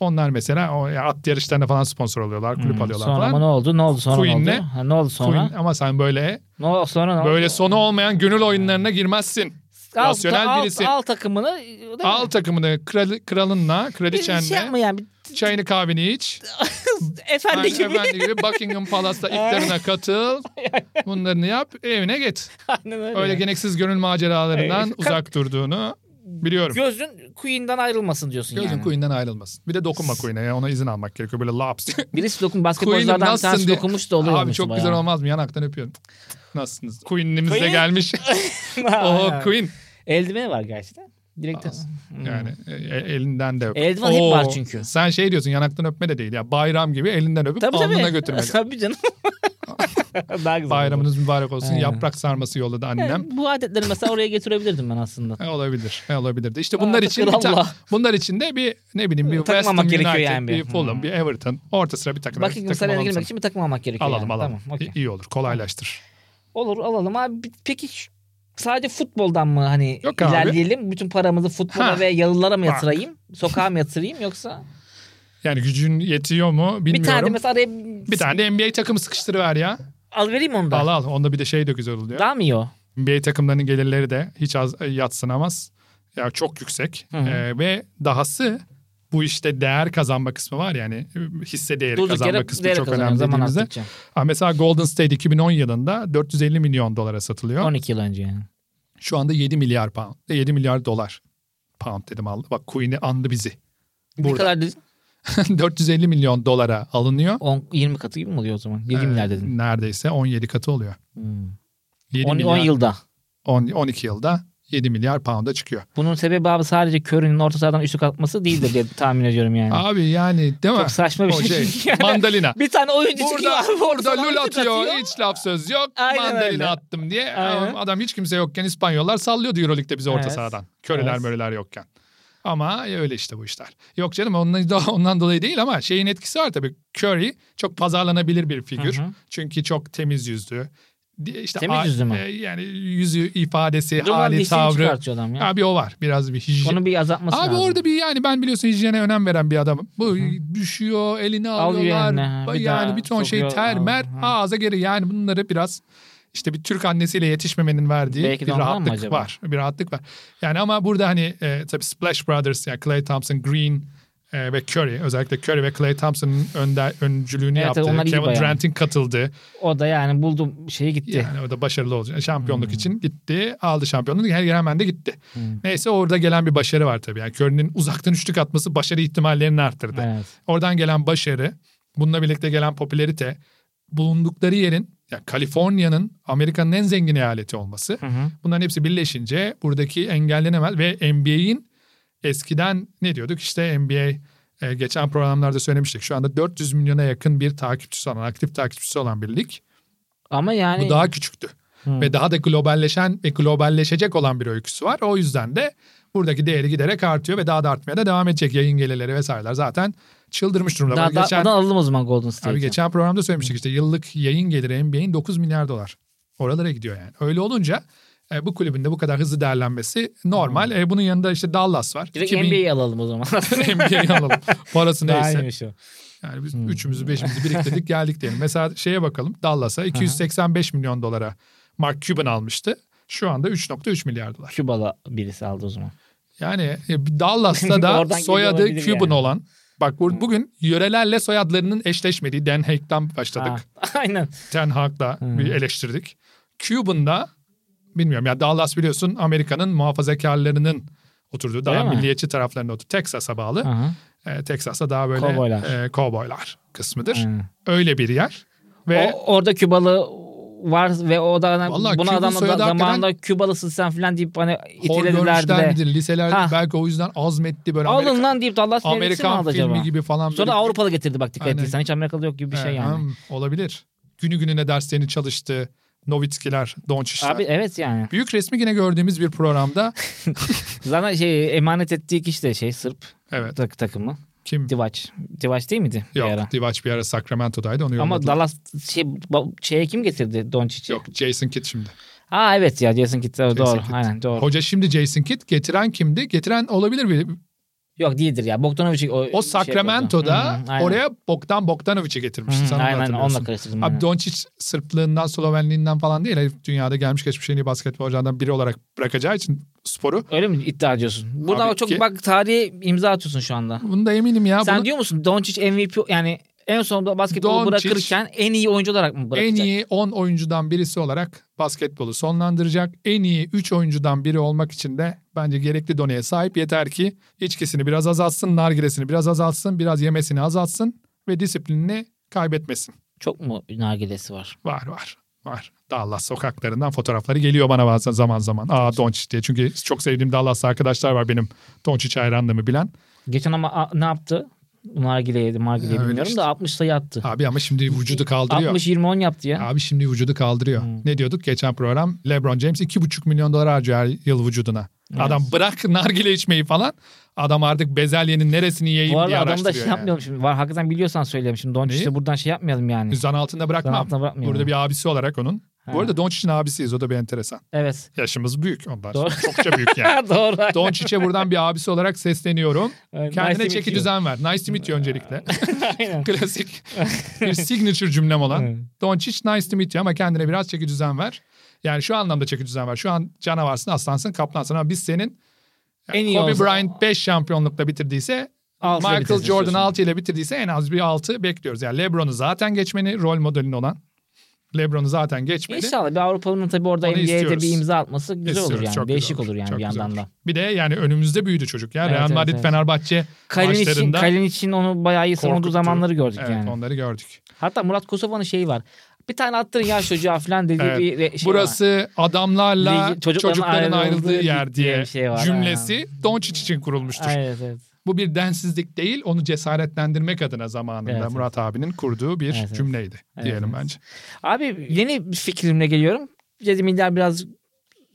Speaker 3: Onlar mesela o ya at yarışlarına falan sponsor oluyorlar. Kulüp
Speaker 2: Hmm.
Speaker 3: alıyorlar
Speaker 2: Sonra ama
Speaker 3: falan.
Speaker 2: ne oldu? Ne oldu sonra ne
Speaker 3: Queen'le-
Speaker 2: oldu? Ha, ne oldu sonra?
Speaker 3: Queen- ama sen böyle
Speaker 2: Ne oldu sonra ne oldu?
Speaker 3: böyle sonu olmayan gönül oyunlarına girmezsin.
Speaker 2: Al-
Speaker 3: rasyonel
Speaker 2: al,
Speaker 3: birisi.
Speaker 2: Al takımını. değil mi?
Speaker 3: Al takımını kral, kralınla,
Speaker 2: Bir
Speaker 3: kraliçenle.
Speaker 2: şey yapma yani. Bir-
Speaker 3: Çayını kahveni iç.
Speaker 2: Efendi
Speaker 3: Aynen
Speaker 2: gibi.
Speaker 3: efendi gibi Buckingham Palace'da iftarına katıl. Bunlarını yap evine git.
Speaker 2: Aynen öyle.
Speaker 3: Öyle gereksiz gönül maceralarından
Speaker 2: Ee, ka-
Speaker 3: uzak durduğunu biliyorum.
Speaker 2: Gözün Queen'den ayrılmasın diyorsun
Speaker 3: Gözün
Speaker 2: yani.
Speaker 3: Queen'den ayrılmasın. Bir de dokunma Queen'e ya ona izin almak gerekiyor. Böyle laps.
Speaker 2: Birisi dokun
Speaker 3: Queen'im
Speaker 2: basketbolculardan bir
Speaker 3: nasılsın
Speaker 2: tanesi
Speaker 3: diye.
Speaker 2: dokunmuş da oluyor.
Speaker 3: Abi
Speaker 2: olmuş
Speaker 3: çok
Speaker 2: bayağı.
Speaker 3: güzel olmaz mı? Yanaktan öpüyorum. Nasılsınız? Queen'imiz de
Speaker 2: Queen.
Speaker 3: gelmiş. Oh,
Speaker 2: Aynen.
Speaker 3: Oho Queen.
Speaker 2: Eldiveni var gerçekten. Direkt.
Speaker 3: Aa,
Speaker 2: Hmm.
Speaker 3: Yani e, e, elinden de öp.
Speaker 2: Eldiven hep
Speaker 3: Oo,
Speaker 2: var çünkü.
Speaker 3: Sen şey diyorsun yanaktan öpme de değil ya. Bayram gibi elinden öpüp
Speaker 2: Tabii
Speaker 3: alnına
Speaker 2: tabii.
Speaker 3: götürmek.
Speaker 2: tabii canım. Daha güzel. olur.
Speaker 3: Bayramınız mübarek olsun.
Speaker 2: Aynen.
Speaker 3: Yaprak sarması yolladı annem.
Speaker 2: Yani bu adetleri mesela oraya getirebilirdim ben aslında.
Speaker 3: E, olabilir. E, olabilirdi. İşte bunlar
Speaker 2: Artık
Speaker 3: için bir ta-
Speaker 2: Allah.
Speaker 3: bunlar için de bir ne bileyim bir West Ham
Speaker 2: Takmamak
Speaker 3: United,
Speaker 2: gerekiyor yani bir.
Speaker 3: bir Fulham,
Speaker 2: Hmm.
Speaker 3: bir Everton. Orta sıra bir takım.
Speaker 2: Buckingham
Speaker 3: takım
Speaker 2: Sarayı'na
Speaker 3: alalım
Speaker 2: girmek
Speaker 3: sana.
Speaker 2: için bir takım almak gerekiyor.
Speaker 3: Alalım
Speaker 2: yani.
Speaker 3: alalım.
Speaker 2: Tamam, okey.
Speaker 3: İyi- İyi olur. Kolaylaştır.
Speaker 2: Olur alalım abi. Bir- Peki şu- sadece futboldan mı hani
Speaker 3: Yok abi.
Speaker 2: ilerleyelim? Bütün paramızı futbola
Speaker 3: Ha.
Speaker 2: ve yalılara mı
Speaker 3: Bak.
Speaker 2: yatırayım? Sokağa mı yatırayım yoksa?
Speaker 3: Yani gücün yetiyor mu bilmiyorum.
Speaker 2: Bir tane de mesela araya
Speaker 3: Bir tane de NBA takımı sıkıştırıver ya.
Speaker 2: al vereyim onu da.
Speaker 3: Al al. Onda bir de şey de güzel oluyor.
Speaker 2: Daha mı iyi o?
Speaker 3: NBA takımlarının gelirleri de hiç az e, yatsınamaz. Ya çok yüksek.
Speaker 2: Hı hı.
Speaker 3: Ee, ve dahası bu işte değer kazanma kısmı var yani e, hisse değeri
Speaker 2: Durduk
Speaker 3: kazanma
Speaker 2: yere
Speaker 3: kısmı
Speaker 2: değer
Speaker 3: çok
Speaker 2: kazanıyor
Speaker 3: önemli
Speaker 2: zaman
Speaker 3: dediğimizde.
Speaker 2: arttıkça.
Speaker 3: Ha, mesela Golden State 2010 yılında 450 milyon dolara satılıyor.
Speaker 2: 12 yıl önce yani.
Speaker 3: Şu anda 7 milyar pound. 7 milyar dolar. Pound dedim aldı. Bak Queen'i andı bizi.
Speaker 2: Ne
Speaker 3: Burada.
Speaker 2: kadar dedin?
Speaker 3: 450 milyon dolara alınıyor.
Speaker 2: 10, 20 katı gibi mi oluyor o zaman? 20
Speaker 3: Ee,
Speaker 2: milyar dedin.
Speaker 3: Neredeyse 17 katı oluyor.
Speaker 2: Hmm.
Speaker 3: 7
Speaker 2: 10, 10
Speaker 3: milyar-
Speaker 2: yılda.
Speaker 3: 10 12 yılda 7 milyar pound'a çıkıyor.
Speaker 2: Bunun sebebi abi sadece körünün orta sahadan üçlük atması değildir diye tahmin ediyorum yani.
Speaker 3: Abi yani değil mi?
Speaker 2: Çok saçma bir
Speaker 3: O
Speaker 2: şey.
Speaker 3: şey,
Speaker 2: Yani
Speaker 3: mandalina.
Speaker 2: bir tane oyuncu çıkıyor
Speaker 3: Burada,
Speaker 2: abi.
Speaker 3: burada
Speaker 2: ortadan
Speaker 3: lul
Speaker 2: üçlük
Speaker 3: atıyor, hiç laf söz yok.
Speaker 2: Aynen
Speaker 3: mandalina
Speaker 2: öyle.
Speaker 3: attım diye.
Speaker 2: Aynen.
Speaker 3: Ama Adam hiç kimse yokken İspanyollar sallıyordu Euroleague'de bizi orta
Speaker 2: Evet.
Speaker 3: sahadan. Köreler
Speaker 2: Evet.
Speaker 3: möreler yokken. Ama öyle işte bu işler. Yok canım ondan, ondan dolayı değil ama şeyin etkisi var tabii. Curry çok pazarlanabilir bir figür.
Speaker 2: Hı hı.
Speaker 3: Çünkü çok temiz yüzlü. işte
Speaker 2: Temiz
Speaker 3: a-
Speaker 2: yüzü mü?
Speaker 3: e, yani yüzü ifadesi,
Speaker 2: Durmadan
Speaker 3: hali,
Speaker 2: dişini
Speaker 3: tavrı.
Speaker 2: şey çıkartıyor adam ya.
Speaker 3: Abi o var. Biraz bir hijyen.
Speaker 2: Onu bir azaltması
Speaker 3: Şey- Abi
Speaker 2: lazım.
Speaker 3: orada bir yani ben biliyorsun hijyene önem veren bir adamım. Bu düşüyor, elini
Speaker 2: Alıyor
Speaker 3: alıyorlar.
Speaker 2: eline, ha, bir
Speaker 3: yani
Speaker 2: daha
Speaker 3: bir ton şey
Speaker 2: sokuyor,
Speaker 3: ter,
Speaker 2: alıyor,
Speaker 3: mer,
Speaker 2: ha.
Speaker 3: ağza geri. Yani bunları biraz işte bir Türk annesiyle yetişmemenin verdiği
Speaker 2: Belki de
Speaker 3: bir
Speaker 2: ondan mı
Speaker 3: rahatlık
Speaker 2: acaba?
Speaker 3: var. Bir rahatlık var. Yani ama burada hani e, tabii Splash Brothers, yani Clay Thompson, Green e, ve Curry. Özellikle Curry ve Clay Thompson'ın önde, öncülüğünü
Speaker 2: Evet,
Speaker 3: yaptığı,
Speaker 2: onlar iyi
Speaker 3: Kevin
Speaker 2: bayağı.
Speaker 3: Durant'in katıldığı.
Speaker 2: O da yani buldum şeye gitti. Hmm.
Speaker 3: Yani o da başarılı olacak. Şampiyonluk için gitti. Aldı şampiyonluğu. Her hemen de gitti. Neyse orada gelen bir başarı var tabii. Yani Curry'nin uzaktan üçlük atması başarı ihtimallerini arttırdı.
Speaker 2: Evet.
Speaker 3: Oradan gelen başarı, bununla birlikte gelen popülerite, bulundukları yerin, yani Kaliforniya'nın Amerika'nın en zengin eyaleti olması.
Speaker 2: Hı hı.
Speaker 3: Bunların hepsi birleşince buradaki engellenemez ve NBA'in eskiden ne diyorduk işte NBA e, geçen programlarda söylemiştik. Şu anda 400 milyona yakın bir takipçisi olan, aktif takipçisi olan bir lig.
Speaker 2: Ama yani
Speaker 3: Bu daha küçüktü.
Speaker 2: Hı.
Speaker 3: Ve daha da globalleşen ve globalleşecek olan bir öyküsü var. O yüzden de buradaki değeri giderek artıyor ve daha da artmaya da devam edecek. Yayın gelirleri vesaireler zaten çıldırmış durumda.
Speaker 2: daha,
Speaker 3: Bak
Speaker 2: daha
Speaker 3: geçen,
Speaker 2: daha alalım o zaman Golden
Speaker 3: abi
Speaker 2: State'i.
Speaker 3: geçen programda söylemiştik işte yıllık yayın geliri NBA'in 9 milyar dolar. Oralara gidiyor yani. Öyle olunca e, bu kulübün de bu kadar hızlı değerlenmesi normal. E, bunun yanında işte Dallas var.
Speaker 2: Direkt
Speaker 3: 2000
Speaker 2: NBA'yi alalım o zaman.
Speaker 3: NBA'yi alalım. Parası
Speaker 2: Daha
Speaker 3: neyse.
Speaker 2: iyiymiş o.
Speaker 3: Yani biz
Speaker 2: Hmm.
Speaker 3: üçümüzü beşimizi biriktirdik geldik diyelim. Mesela şeye bakalım Dallas'a 285 milyon dolara Mark Cuban almıştı. Şu anda 3.3 milyar dolar.
Speaker 2: Kübalı birisi aldı o zaman.
Speaker 3: Yani e, Dallas'ta da
Speaker 2: Oradan
Speaker 3: soyadı
Speaker 2: geliyor olabilir
Speaker 3: Cuban
Speaker 2: yani. Hmm.
Speaker 3: olan. Bak bu- bugün yörelerle soyadlarının eşleşmediği Dan Haig'dan başladık.
Speaker 2: Ha, Aynen.
Speaker 3: Ten Hag'la
Speaker 2: Hmm.
Speaker 3: bir eleştirdik. Cuban'da bilmiyorum ya Dallas biliyorsun Amerika'nın muhafazakarlarının oturduğu daha
Speaker 2: Değil mi?
Speaker 3: milliyetçi taraflarının oturduğu Texas'a bağlı.
Speaker 2: Hı hı.
Speaker 3: E, Texas'ta daha böyle
Speaker 2: Kovboylar.
Speaker 3: e, kovboylar kısmıdır.
Speaker 2: Aynen.
Speaker 3: Öyle bir yer. Ve
Speaker 2: Hmm. O- orada Kübalı var ve o da
Speaker 3: Vallahi
Speaker 2: buna
Speaker 3: Küba
Speaker 2: adamla da,
Speaker 3: soyadı hakikaten-
Speaker 2: zamanında Kübalısın sen falan deyip hani
Speaker 3: hor
Speaker 2: itelediler
Speaker 3: görmüşler
Speaker 2: de.
Speaker 3: midir? Liseler
Speaker 2: Ha.
Speaker 3: belki o yüzden azmetti böyle
Speaker 2: Alın
Speaker 3: Amerika,
Speaker 2: lan deyip de Allah verirsin
Speaker 3: Amerikan
Speaker 2: aldı
Speaker 3: filmi
Speaker 2: acaba.
Speaker 3: gibi falan. böyle-
Speaker 2: Sonra Avrupalı getirdi bak dikkat
Speaker 3: Aynen.
Speaker 2: ettiysen. Hiç Amerikalı yok gibi bir şey
Speaker 3: Ee,
Speaker 2: yani.
Speaker 3: hmm, olabilir. Günü gününe derslerini çalıştı. Novitskiler, Doncic'ler.
Speaker 2: Abi evet yani.
Speaker 3: Büyük resmi yine gördüğümüz bir programda.
Speaker 2: Zaten şey emanet ettiği kişi de şey Sırp
Speaker 3: Evet.
Speaker 2: tak- takımı.
Speaker 3: Kim?
Speaker 2: Divaç. Divaç değil miydi? bir ara?
Speaker 3: Yok. Divaç bir ara Sacramento'daydı. Onu
Speaker 2: Ama
Speaker 3: yolladılar.
Speaker 2: Dallas şey, ba- şeye kim getirdi Doncic'i?
Speaker 3: Yok. Jason Kidd şimdi.
Speaker 2: Aa evet ya Jason Kidd doğru.
Speaker 3: Jason
Speaker 2: doğru.
Speaker 3: Kidd.
Speaker 2: Aynen doğru. Şey
Speaker 3: Hoca şimdi Jason Kidd. Getiren kimdi? Getiren olabilir bir.
Speaker 2: Yok değildir ya. Bogdanovic'i o,
Speaker 3: O
Speaker 2: şey
Speaker 3: Sacramento'da
Speaker 2: yapıyordu. Hı hı, Hmm, aynen.
Speaker 3: oraya Bogdan Bogdanovic'i getirmişti.
Speaker 2: Hı,
Speaker 3: Sen onu
Speaker 2: aynen
Speaker 3: hatırlıyorsun.
Speaker 2: onunla karıştırdım.
Speaker 3: Abi
Speaker 2: aynen.
Speaker 3: Doncic Sırplığından, Slovenliğinden falan değil. Herif dünyada gelmiş geçmiş en iyi basketbolculardan biri olarak bırakacağı için sporu.
Speaker 2: Öyle mi iddia ediyorsun? Burada
Speaker 3: Abi
Speaker 2: çok
Speaker 3: ki-
Speaker 2: bak tarihe imza atıyorsun şu anda.
Speaker 3: Bunu da eminim ya.
Speaker 2: Sen
Speaker 3: Bunu
Speaker 2: diyor musun Doncic MVP yani en sonunda basketbolu
Speaker 3: Doncic-
Speaker 2: bırakırken en iyi oyuncu olarak mı
Speaker 3: en
Speaker 2: bırakacak?
Speaker 3: iyi 10 oyuncudan birisi olarak basketbolu sonlandıracak. En iyi 3 oyuncudan biri olmak için de bence gerekli doneye sahip. Yeter ki içkisini biraz azaltsın, nargilesini biraz azaltsın, biraz yemesini azaltsın ve disiplinini kaybetmesin.
Speaker 2: Çok mu nargilesi var?
Speaker 3: Var var var. Dallas sokaklarından fotoğrafları geliyor bana bazen zaman zaman. Aa Doncic diye. Çünkü çok sevdiğim Dallas'ta arkadaşlar var benim Doncic hayranlığımı bilen.
Speaker 2: Geçen ama a- ne yaptı? Nargile yedi, margile
Speaker 3: Ya öyle
Speaker 2: bilmiyorum
Speaker 3: işte.
Speaker 2: da 60 sayı attı.
Speaker 3: Abi ama şimdi vücudu kaldırıyor.
Speaker 2: 60-20-10 yaptı ya. Hmm.
Speaker 3: Abi şimdi vücudu kaldırıyor. Ne diyorduk geçen program? LeBron James 2,5 milyon dolar harcıyor her yıl vücuduna. Adam bırak nargile içmeyi falan. Adam artık bezelyenin neresini
Speaker 2: Bu
Speaker 3: yiyeyim diye
Speaker 2: arada adam da şey
Speaker 3: araştırıyor yani.
Speaker 2: yapmayalım şimdi. Var hakikaten biliyorsan söyleyelim şimdi. Doncic'e
Speaker 3: Neyi?
Speaker 2: buradan şey yapmayalım yani.
Speaker 3: Zan altında bırakmam.
Speaker 2: Zan altında bırakmayalım.
Speaker 3: Burada bir abisi olarak onun.
Speaker 2: Ha.
Speaker 3: Bu arada Doncic'in abisiyiz. O da bir enteresan.
Speaker 2: Evet.
Speaker 3: Yaşımız büyük ondan.
Speaker 2: Doğru.
Speaker 3: Çokça büyük yani.
Speaker 2: Doğru. aynen.
Speaker 3: Doncic'e buradan bir abisi olarak sesleniyorum.
Speaker 2: Evet, nice
Speaker 3: Kendine
Speaker 2: to meet
Speaker 3: çeki
Speaker 2: you.
Speaker 3: düzen ver. Nice to meet you öncelikle.
Speaker 2: Aynen.
Speaker 3: Klasik bir signature cümlem
Speaker 2: Evet.
Speaker 3: olan. Doncic nice to meet you ama kendine biraz çeki düzen ver. Yani şu anlamda çeki düzen ver. Şu an canavarsın, aslansın, kaplansın ama biz senin yani
Speaker 2: En iyi
Speaker 3: Kobe
Speaker 2: olsa-
Speaker 3: Bryant 5 şampiyonlukla bitirdiyse
Speaker 2: Altıyla
Speaker 3: Michael
Speaker 2: bitirsin
Speaker 3: Jordan
Speaker 2: diyorsun.
Speaker 3: 6 ile bitirdiyse en az bir 6 bekliyoruz. Yani LeBron'u zaten geçmeni rol modelin olan. LeBron'u zaten geçmeni
Speaker 2: İnşallah bir Avrupa'nın tabii orada
Speaker 3: Onu
Speaker 2: NBA'de
Speaker 3: istiyoruz.
Speaker 2: bir imza atması güzel olur
Speaker 3: istiyoruz.
Speaker 2: yani.
Speaker 3: Çok güzel
Speaker 2: Değişik olur, yani
Speaker 3: Çok
Speaker 2: bir
Speaker 3: güzel
Speaker 2: yandan
Speaker 3: olur.
Speaker 2: da.
Speaker 3: Bir de yani önümüzde büyüdü çocuk ya.
Speaker 2: Evet,
Speaker 3: Real
Speaker 2: evet,
Speaker 3: Madrid,
Speaker 2: evet.
Speaker 3: Fenerbahçe
Speaker 2: Kalin için,
Speaker 3: maçlarında
Speaker 2: Kalin için onu bayağı iyi savunduğu
Speaker 3: korkuttu.
Speaker 2: zamanları gördük
Speaker 3: evet,
Speaker 2: yani.
Speaker 3: onları gördük.
Speaker 2: Hatta Murat Kosova'nın şeyi var. Bir tane attırın ya çocuğa falan dediği
Speaker 3: Evet.
Speaker 2: bir re- şey var.
Speaker 3: Burası adamlarla
Speaker 2: Ligi-
Speaker 3: çocukların,
Speaker 2: çocukların
Speaker 3: ayrıldığı,
Speaker 2: ayrıldığı
Speaker 3: yer
Speaker 2: diye
Speaker 3: diye
Speaker 2: bir şey var,
Speaker 3: cümlesi Doncic için kurulmuştur.
Speaker 2: Aynen, Evet, evet.
Speaker 3: Bu bir densizlik değil, onu cesaretlendirmek adına zamanında
Speaker 2: Evet, evet.
Speaker 3: Murat abinin kurduğu bir
Speaker 2: Evet, evet.
Speaker 3: cümleydi diyelim
Speaker 2: Evet.
Speaker 3: bence.
Speaker 2: Abi yeni bir fikrimle geliyorum. Dedim illa biraz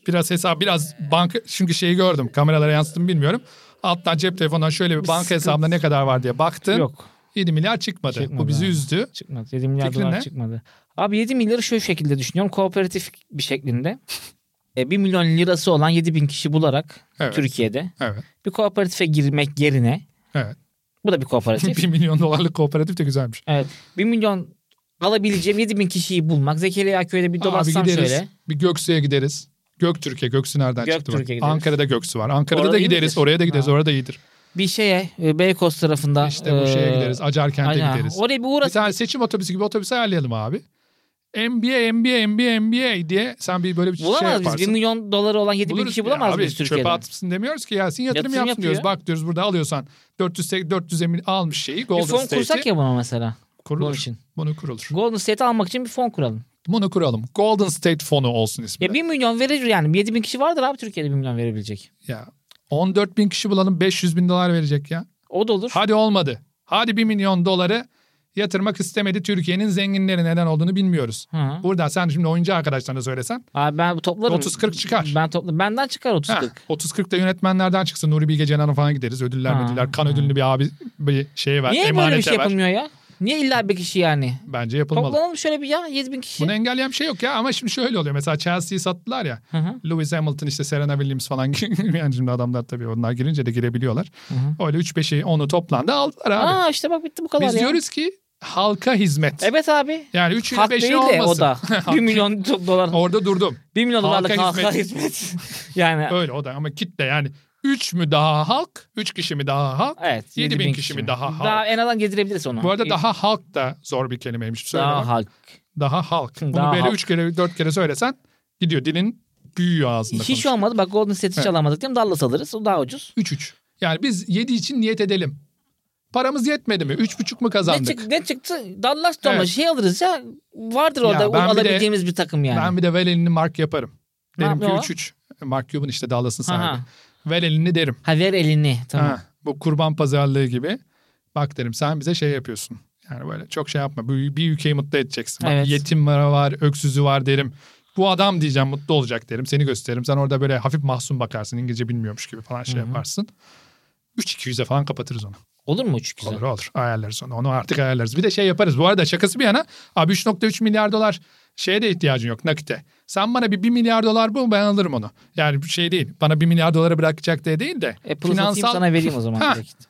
Speaker 3: Biraz hesap, biraz banka çünkü şeyi gördüm, kameralara yansıttım bilmiyorum. Alttan cep telefonundan şöyle bir banka
Speaker 2: sıkıntı-
Speaker 3: hesabında ne kadar var diye baktın.
Speaker 2: yok.
Speaker 3: 7 milyar çıkmadı.
Speaker 2: Çıkmadı
Speaker 3: Bu bizi
Speaker 2: abi.
Speaker 3: üzdü.
Speaker 2: Çıkmadı. 7 milyar
Speaker 3: Fikrin
Speaker 2: dolar
Speaker 3: ne?
Speaker 2: çıkmadı. Abi 7 milyarı şu şekilde düşünüyorum. Kooperatif bir şeklinde. E, 1 milyon lirası olan 7 bin kişi bularak
Speaker 3: Evet.
Speaker 2: Türkiye'de
Speaker 3: Evet.
Speaker 2: bir kooperatife girmek yerine
Speaker 3: Evet.
Speaker 2: bu da bir kooperatif.
Speaker 3: 1 milyon dolarlık kooperatif de güzelmiş.
Speaker 2: Evet. 1 milyon alabileceğim 7 bin kişiyi bulmak. Zekeriya köyde bir
Speaker 3: Abi
Speaker 2: dolaşsam
Speaker 3: gideriz.
Speaker 2: şöyle.
Speaker 3: Bir Göksu'ya gideriz. Göktürk'e. Göksu nereden çıktı?
Speaker 2: Göktürk'e
Speaker 3: bak?
Speaker 2: gideriz.
Speaker 3: Ankara'da Göksu var. Ankara'da
Speaker 2: Orada
Speaker 3: da
Speaker 2: iyi
Speaker 3: gideriz.
Speaker 2: midir?
Speaker 3: Oraya da gideriz.
Speaker 2: Ha.
Speaker 3: Orada iyidir.
Speaker 2: Bir şeye e, Beykoz tarafında.
Speaker 3: İşte bu şeye
Speaker 2: e,
Speaker 3: gideriz. Acarkent'e
Speaker 2: aynen.
Speaker 3: gideriz.
Speaker 2: Oraya bir
Speaker 3: Bir
Speaker 2: uğrasın.
Speaker 3: tane seçim otobüsü gibi otobüs ayarlayalım abi. NBA, NBA, NBA, NBA diye sen bir böyle bir şey
Speaker 2: Bulamaz
Speaker 3: yaparsın.
Speaker 2: biz 1 milyon doları olan 7 bin
Speaker 3: Buluruz
Speaker 2: kişi
Speaker 3: ya
Speaker 2: bulamaz
Speaker 3: abi,
Speaker 2: biz Türkiye'de.
Speaker 3: Çöpe atsın demiyoruz ki Yasin yatırım,
Speaker 2: Yatırım
Speaker 3: yapsın
Speaker 2: yapıyor.
Speaker 3: diyoruz. Bak diyoruz burada alıyorsan 400 400 emin almış şeyi
Speaker 2: Bir
Speaker 3: Golden
Speaker 2: fon
Speaker 3: State'i
Speaker 2: kursak ya buna mesela. Bunun
Speaker 3: kurulur.
Speaker 2: için.
Speaker 3: Bunu kurulur.
Speaker 2: Golden State'i almak için bir fon kuralım.
Speaker 3: Bunu kuralım. Golden State fonu olsun ismi.
Speaker 2: Ya 1 milyon verir yani. 7 bin kişi vardır abi Türkiye'de 1 milyon verebilecek.
Speaker 3: Ya 14 bin kişi bulalım 500 bin dolar verecek ya.
Speaker 2: O da olur.
Speaker 3: Hadi olmadı. Hadi 1 milyon doları yatırmak istemedi. Türkiye'nin zenginleri neden olduğunu bilmiyoruz.
Speaker 2: Hı.
Speaker 3: Burada sen şimdi oyuncu arkadaşlarına söylesen
Speaker 2: Abi ben toplarım.
Speaker 3: 30-40 çıkar.
Speaker 2: Ben topla benden çıkar 30
Speaker 3: Ha,
Speaker 2: 40.
Speaker 3: 30-40 da yönetmenlerden çıksın. Nuri Bilge Ceylan'a falan gideriz. Ödüller
Speaker 2: Ha,
Speaker 3: ödüller. Kan
Speaker 2: ha.
Speaker 3: ödüllü bir abi bir şey ver.
Speaker 2: Niye böyle bir
Speaker 3: emanete
Speaker 2: şey
Speaker 3: ver.
Speaker 2: yapılmıyor ya? Niye illa bir kişi yani?
Speaker 3: Bence yapılmalı.
Speaker 2: Toplanalım şöyle bir ya 7000 kişi.
Speaker 3: Bunu engelleyen bir şey yok ya ama şimdi şöyle oluyor. Mesela Chelsea'yi sattılar ya.
Speaker 2: Hı hı.
Speaker 3: Lewis Hamilton işte Serena Williams falan yani şimdi adamlar tabii onlar girince de girebiliyorlar.
Speaker 2: hı.
Speaker 3: Öyle 3-5'i onu toplandı aldılar abi.
Speaker 2: Aa işte bak bitti bu kadar
Speaker 3: Biz
Speaker 2: ya.
Speaker 3: diyoruz ki halka hizmet.
Speaker 2: Evet abi.
Speaker 3: Yani 3 ile
Speaker 2: Hak
Speaker 3: 5
Speaker 2: değil
Speaker 3: olmasın.
Speaker 2: de o da. 1 milyon do- dolar.
Speaker 3: Orada durdum.
Speaker 2: 1 milyon
Speaker 3: Halka
Speaker 2: dolarlık halka hizmet. yani
Speaker 3: Öyle o da ama kitle yani 3 mü daha halk, 3 kişi mi daha halk,
Speaker 2: evet.
Speaker 3: Yedi
Speaker 2: yedi
Speaker 3: bin kişi mi daha halk?
Speaker 2: Daha en azından gezdirebiliriz onu.
Speaker 3: Bu arada daha halk da zor bir kelimeymiş. Söyle
Speaker 2: daha
Speaker 3: bak.
Speaker 2: halk.
Speaker 3: daha halk. Bunu
Speaker 2: Daha
Speaker 3: böyle
Speaker 2: halk.
Speaker 3: 3 kere 4 kere söylesen gidiyor dilin büyüyor ağzında.
Speaker 2: Hiç olmadı. Bak Golden State'i hiç
Speaker 3: Evet.
Speaker 2: alamadık değil mi? Dallas alırız. O daha ucuz.
Speaker 3: 3-3. Yani biz 7 için niyet edelim. Paramız yetmedi mi? 3,5 mu
Speaker 2: Ne,
Speaker 3: kazandık?
Speaker 2: çık, ne çıktı? Dallas da olmaz.
Speaker 3: Evet.
Speaker 2: Şey alırız ya. Vardır orada
Speaker 3: Ya ben bir de-
Speaker 2: alabileceğimiz bir takım yani.
Speaker 3: Ben bir de Velin'i mark yaparım.
Speaker 2: Ne
Speaker 3: Derim ki
Speaker 2: yapıyor o?
Speaker 3: 3-3. Mark Cuban işte Dallas'ın
Speaker 2: Ha,
Speaker 3: sahibi.
Speaker 2: ha.
Speaker 3: Velin'i derim.
Speaker 2: ha ver elini. Tamam.
Speaker 3: Ha, bu kurban pazarlığı gibi. Bak derim sen bize şey yapıyorsun. Yani böyle çok şey yapma. Bir, bir ülkeyi mutlu edeceksin. Bak,
Speaker 2: Evet.
Speaker 3: Yetim var, var, öksüzü var derim. Bu adam diyeceğim mutlu olacak derim. Seni gösteririm. Sen orada böyle hafif mahzun bakarsın. İngilizce bilmiyormuş gibi falan şey
Speaker 2: Hı hı.
Speaker 3: yaparsın. 3-200'e falan kapatırız onu.
Speaker 2: Olur mu üç güzel?
Speaker 3: Olur olur. Ayarlarız onu. Onu artık ayarlarız. Bir de şey yaparız. Bu arada şakası bir yana. Abi 3.3 milyar dolar şeye de ihtiyacın yok nakite. Sen bana bir 1 milyar dolar bul ben alırım onu. Yani bir şey değil. Bana 1 milyar dolara bırakacak diye değil de.
Speaker 2: Apple'ı satayım sana vereyim o zaman.
Speaker 3: Ha,
Speaker 2: direkt.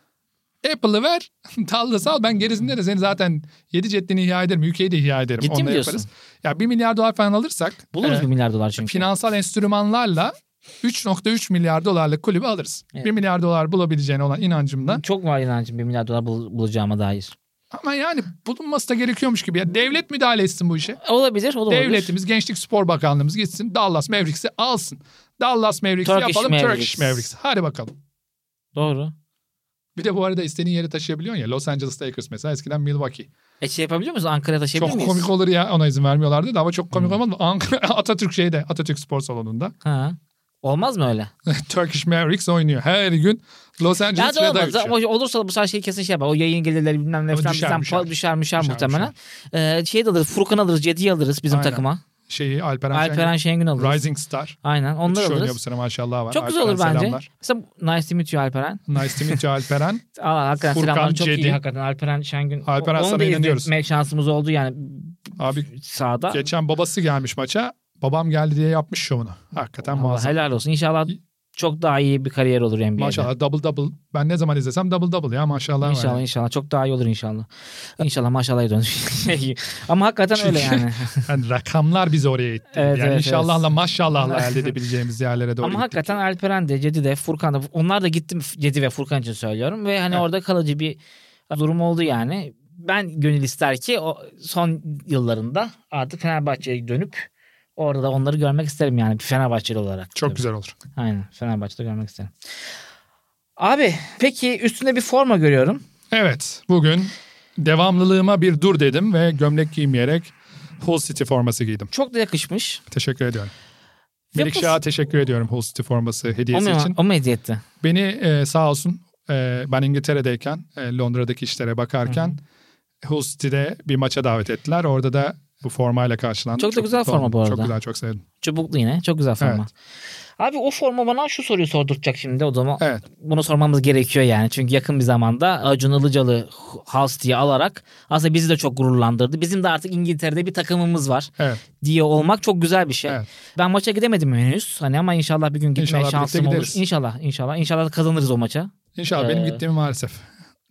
Speaker 3: Apple'ı ver. Dallas al. Ben gerisinde de seni zaten 7 ceddini ihya ederim. UK'yi de ihya ederim.
Speaker 2: Ciddi
Speaker 3: Onu
Speaker 2: mi
Speaker 3: da
Speaker 2: diyorsun?
Speaker 3: yaparız. Ya 1 milyar dolar falan alırsak.
Speaker 2: Buluruz
Speaker 3: e,
Speaker 2: bir milyar dolar çünkü.
Speaker 3: Finansal enstrümanlarla 3.3 milyar dolarlık kulübü alırız.
Speaker 2: Evet.
Speaker 3: 1 milyar dolar bulabileceğine olan inancımda.
Speaker 2: Çok var inancım bir milyar dolar bul- bulacağıma dair.
Speaker 3: Ama yani bulunması da gerekiyormuş gibi. Ya devlet müdahale etsin bu işe.
Speaker 2: Olabilir, o da olabilir.
Speaker 3: Devletimiz, Gençlik Spor Bakanlığımız gitsin Dallas Mavericks'i alsın. Dallas Mavericks'i
Speaker 2: Turkish
Speaker 3: yapalım
Speaker 2: Mavericks.
Speaker 3: Turkish Mavericks. Hadi bakalım.
Speaker 2: Doğru.
Speaker 3: Bir de bu arada istediğin yere taşıyabiliyorsun ya. Los Angeles Lakers mesela eskiden Milwaukee.
Speaker 2: E şey yapabiliyor musun? Ankara'ya taşıyabilir
Speaker 3: çok
Speaker 2: miyiz?
Speaker 3: komik olur ya ona izin vermiyorlardı da ama çok komik
Speaker 2: Hmm.
Speaker 3: olmadı mı? Ankara Atatürk şeyde Atatürk Spor Salonu'nda
Speaker 2: Ha. Olmaz mı öyle?
Speaker 3: Turkish Mavericks oynuyor. Her gün Los
Speaker 2: Ya
Speaker 3: Angeles
Speaker 2: da
Speaker 3: Reda
Speaker 2: olmaz.
Speaker 3: uçuyor.
Speaker 2: Ama olursa da bu sefer şey kesin şey yapar. O yayın gelirleri bilmem ne
Speaker 3: Ama
Speaker 2: falan
Speaker 3: düşer,
Speaker 2: bizden
Speaker 3: düşer.
Speaker 2: düşer, düşer, müşer
Speaker 3: Düşer,
Speaker 2: muhtemelen. Ee, şey de alırız. Furkan alırız. Cedi'yi alırız bizim
Speaker 3: Aynen.
Speaker 2: takıma.
Speaker 3: Şeyi Alperen,
Speaker 2: Alperen Şengün alırız.
Speaker 3: Şengün, Rising Star.
Speaker 2: Aynen.
Speaker 3: Müthiş
Speaker 2: Onları
Speaker 3: oynuyor bu
Speaker 2: alırız.
Speaker 3: sene maşallah var.
Speaker 2: Çok güzel olur
Speaker 3: Alperen
Speaker 2: bence.
Speaker 3: selamlar.
Speaker 2: Mesela nice to meet you Alperen.
Speaker 3: Nice to meet you Alperen.
Speaker 2: Aa, hakikaten
Speaker 3: Furkan
Speaker 2: selamlar. Çok
Speaker 3: Cedi.
Speaker 2: iyi hakikaten. Alperen Şengün.
Speaker 3: Alperen
Speaker 2: Onu
Speaker 3: sana
Speaker 2: da
Speaker 3: inanıyoruz.
Speaker 2: izlemek şansımız oldu yani
Speaker 3: Abi
Speaker 2: sahada.
Speaker 3: geçen babası gelmiş maça. Babam geldi diye yapmış şovunu. Hakikaten
Speaker 2: Vallahi
Speaker 3: muazzam.
Speaker 2: helal olsun. İnşallah çok daha iyi bir kariyer olur NBA'de.
Speaker 3: Maşallah double double. Ben ne zaman izlesem double double ya maşallah. var
Speaker 2: İnşallah
Speaker 3: yani.
Speaker 2: inşallah çok daha iyi olur inşallah. İnşallah maşallah dönüş. Ama hakikaten öyle yani.
Speaker 3: Yani rakamlar bizi oraya itti.
Speaker 2: Evet,
Speaker 3: yani
Speaker 2: evet,
Speaker 3: inşallahla maşallahla elde edebileceğimiz yerlere doğru
Speaker 2: Ama
Speaker 3: gittik.
Speaker 2: hakikaten Alperen de Cedi de Furkan da onlar da gittim Cedi ve Furkan için söylüyorum ve hani
Speaker 3: Evet.
Speaker 2: orada kalıcı bir durum oldu yani. Ben gönül ister ki o son yıllarında artık Fenerbahçe'ye dönüp orada da onları görmek isterim yani bir Fenerbahçeli olarak.
Speaker 3: Çok
Speaker 2: Tabii.
Speaker 3: güzel olur.
Speaker 2: Aynen Fenerbahçe'de görmek isterim. Abi peki üstünde bir forma görüyorum.
Speaker 3: Evet bugün devamlılığıma bir dur dedim ve gömlek giymeyerek Hull City forması giydim.
Speaker 2: Çok da yakışmış.
Speaker 3: Teşekkür ediyorum.
Speaker 2: Ve
Speaker 3: Melikşah'a teşekkür ediyorum Hull City forması
Speaker 2: O
Speaker 3: hediyesi
Speaker 2: mu,
Speaker 3: için.
Speaker 2: o mu hediye etti?
Speaker 3: Beni e, sağ olsun e, ben İngiltere'deyken e, Londra'daki işlere bakarken Hull City'de bir maça davet ettiler. Orada da bu formayla karşılandım.
Speaker 2: Çok da güzel
Speaker 3: mutlu
Speaker 2: forma
Speaker 3: oldum.
Speaker 2: bu arada.
Speaker 3: Çok güzel çok sevdim.
Speaker 2: Çubuklu yine. Çok güzel forma.
Speaker 3: Evet.
Speaker 2: Abi o forma bana şu soruyu sordurtacak şimdi o zaman.
Speaker 3: Evet.
Speaker 2: Bunu sormamız gerekiyor yani. Çünkü yakın bir zamanda Acun Ilıcalı House diye alarak aslında bizi de çok gururlandırdı. Bizim de artık İngiltere'de bir takımımız var
Speaker 3: Evet.
Speaker 2: diye olmak çok güzel bir şey.
Speaker 3: Evet.
Speaker 2: Ben maça gidemedim henüz. Hani ama inşallah bir gün gitme
Speaker 3: İnşallah birlikte
Speaker 2: şansım olur.
Speaker 3: gideriz.
Speaker 2: İnşallah inşallah. İnşallah da kazanırız o maça.
Speaker 3: İnşallah benim
Speaker 2: Ee,
Speaker 3: gittiğimi maalesef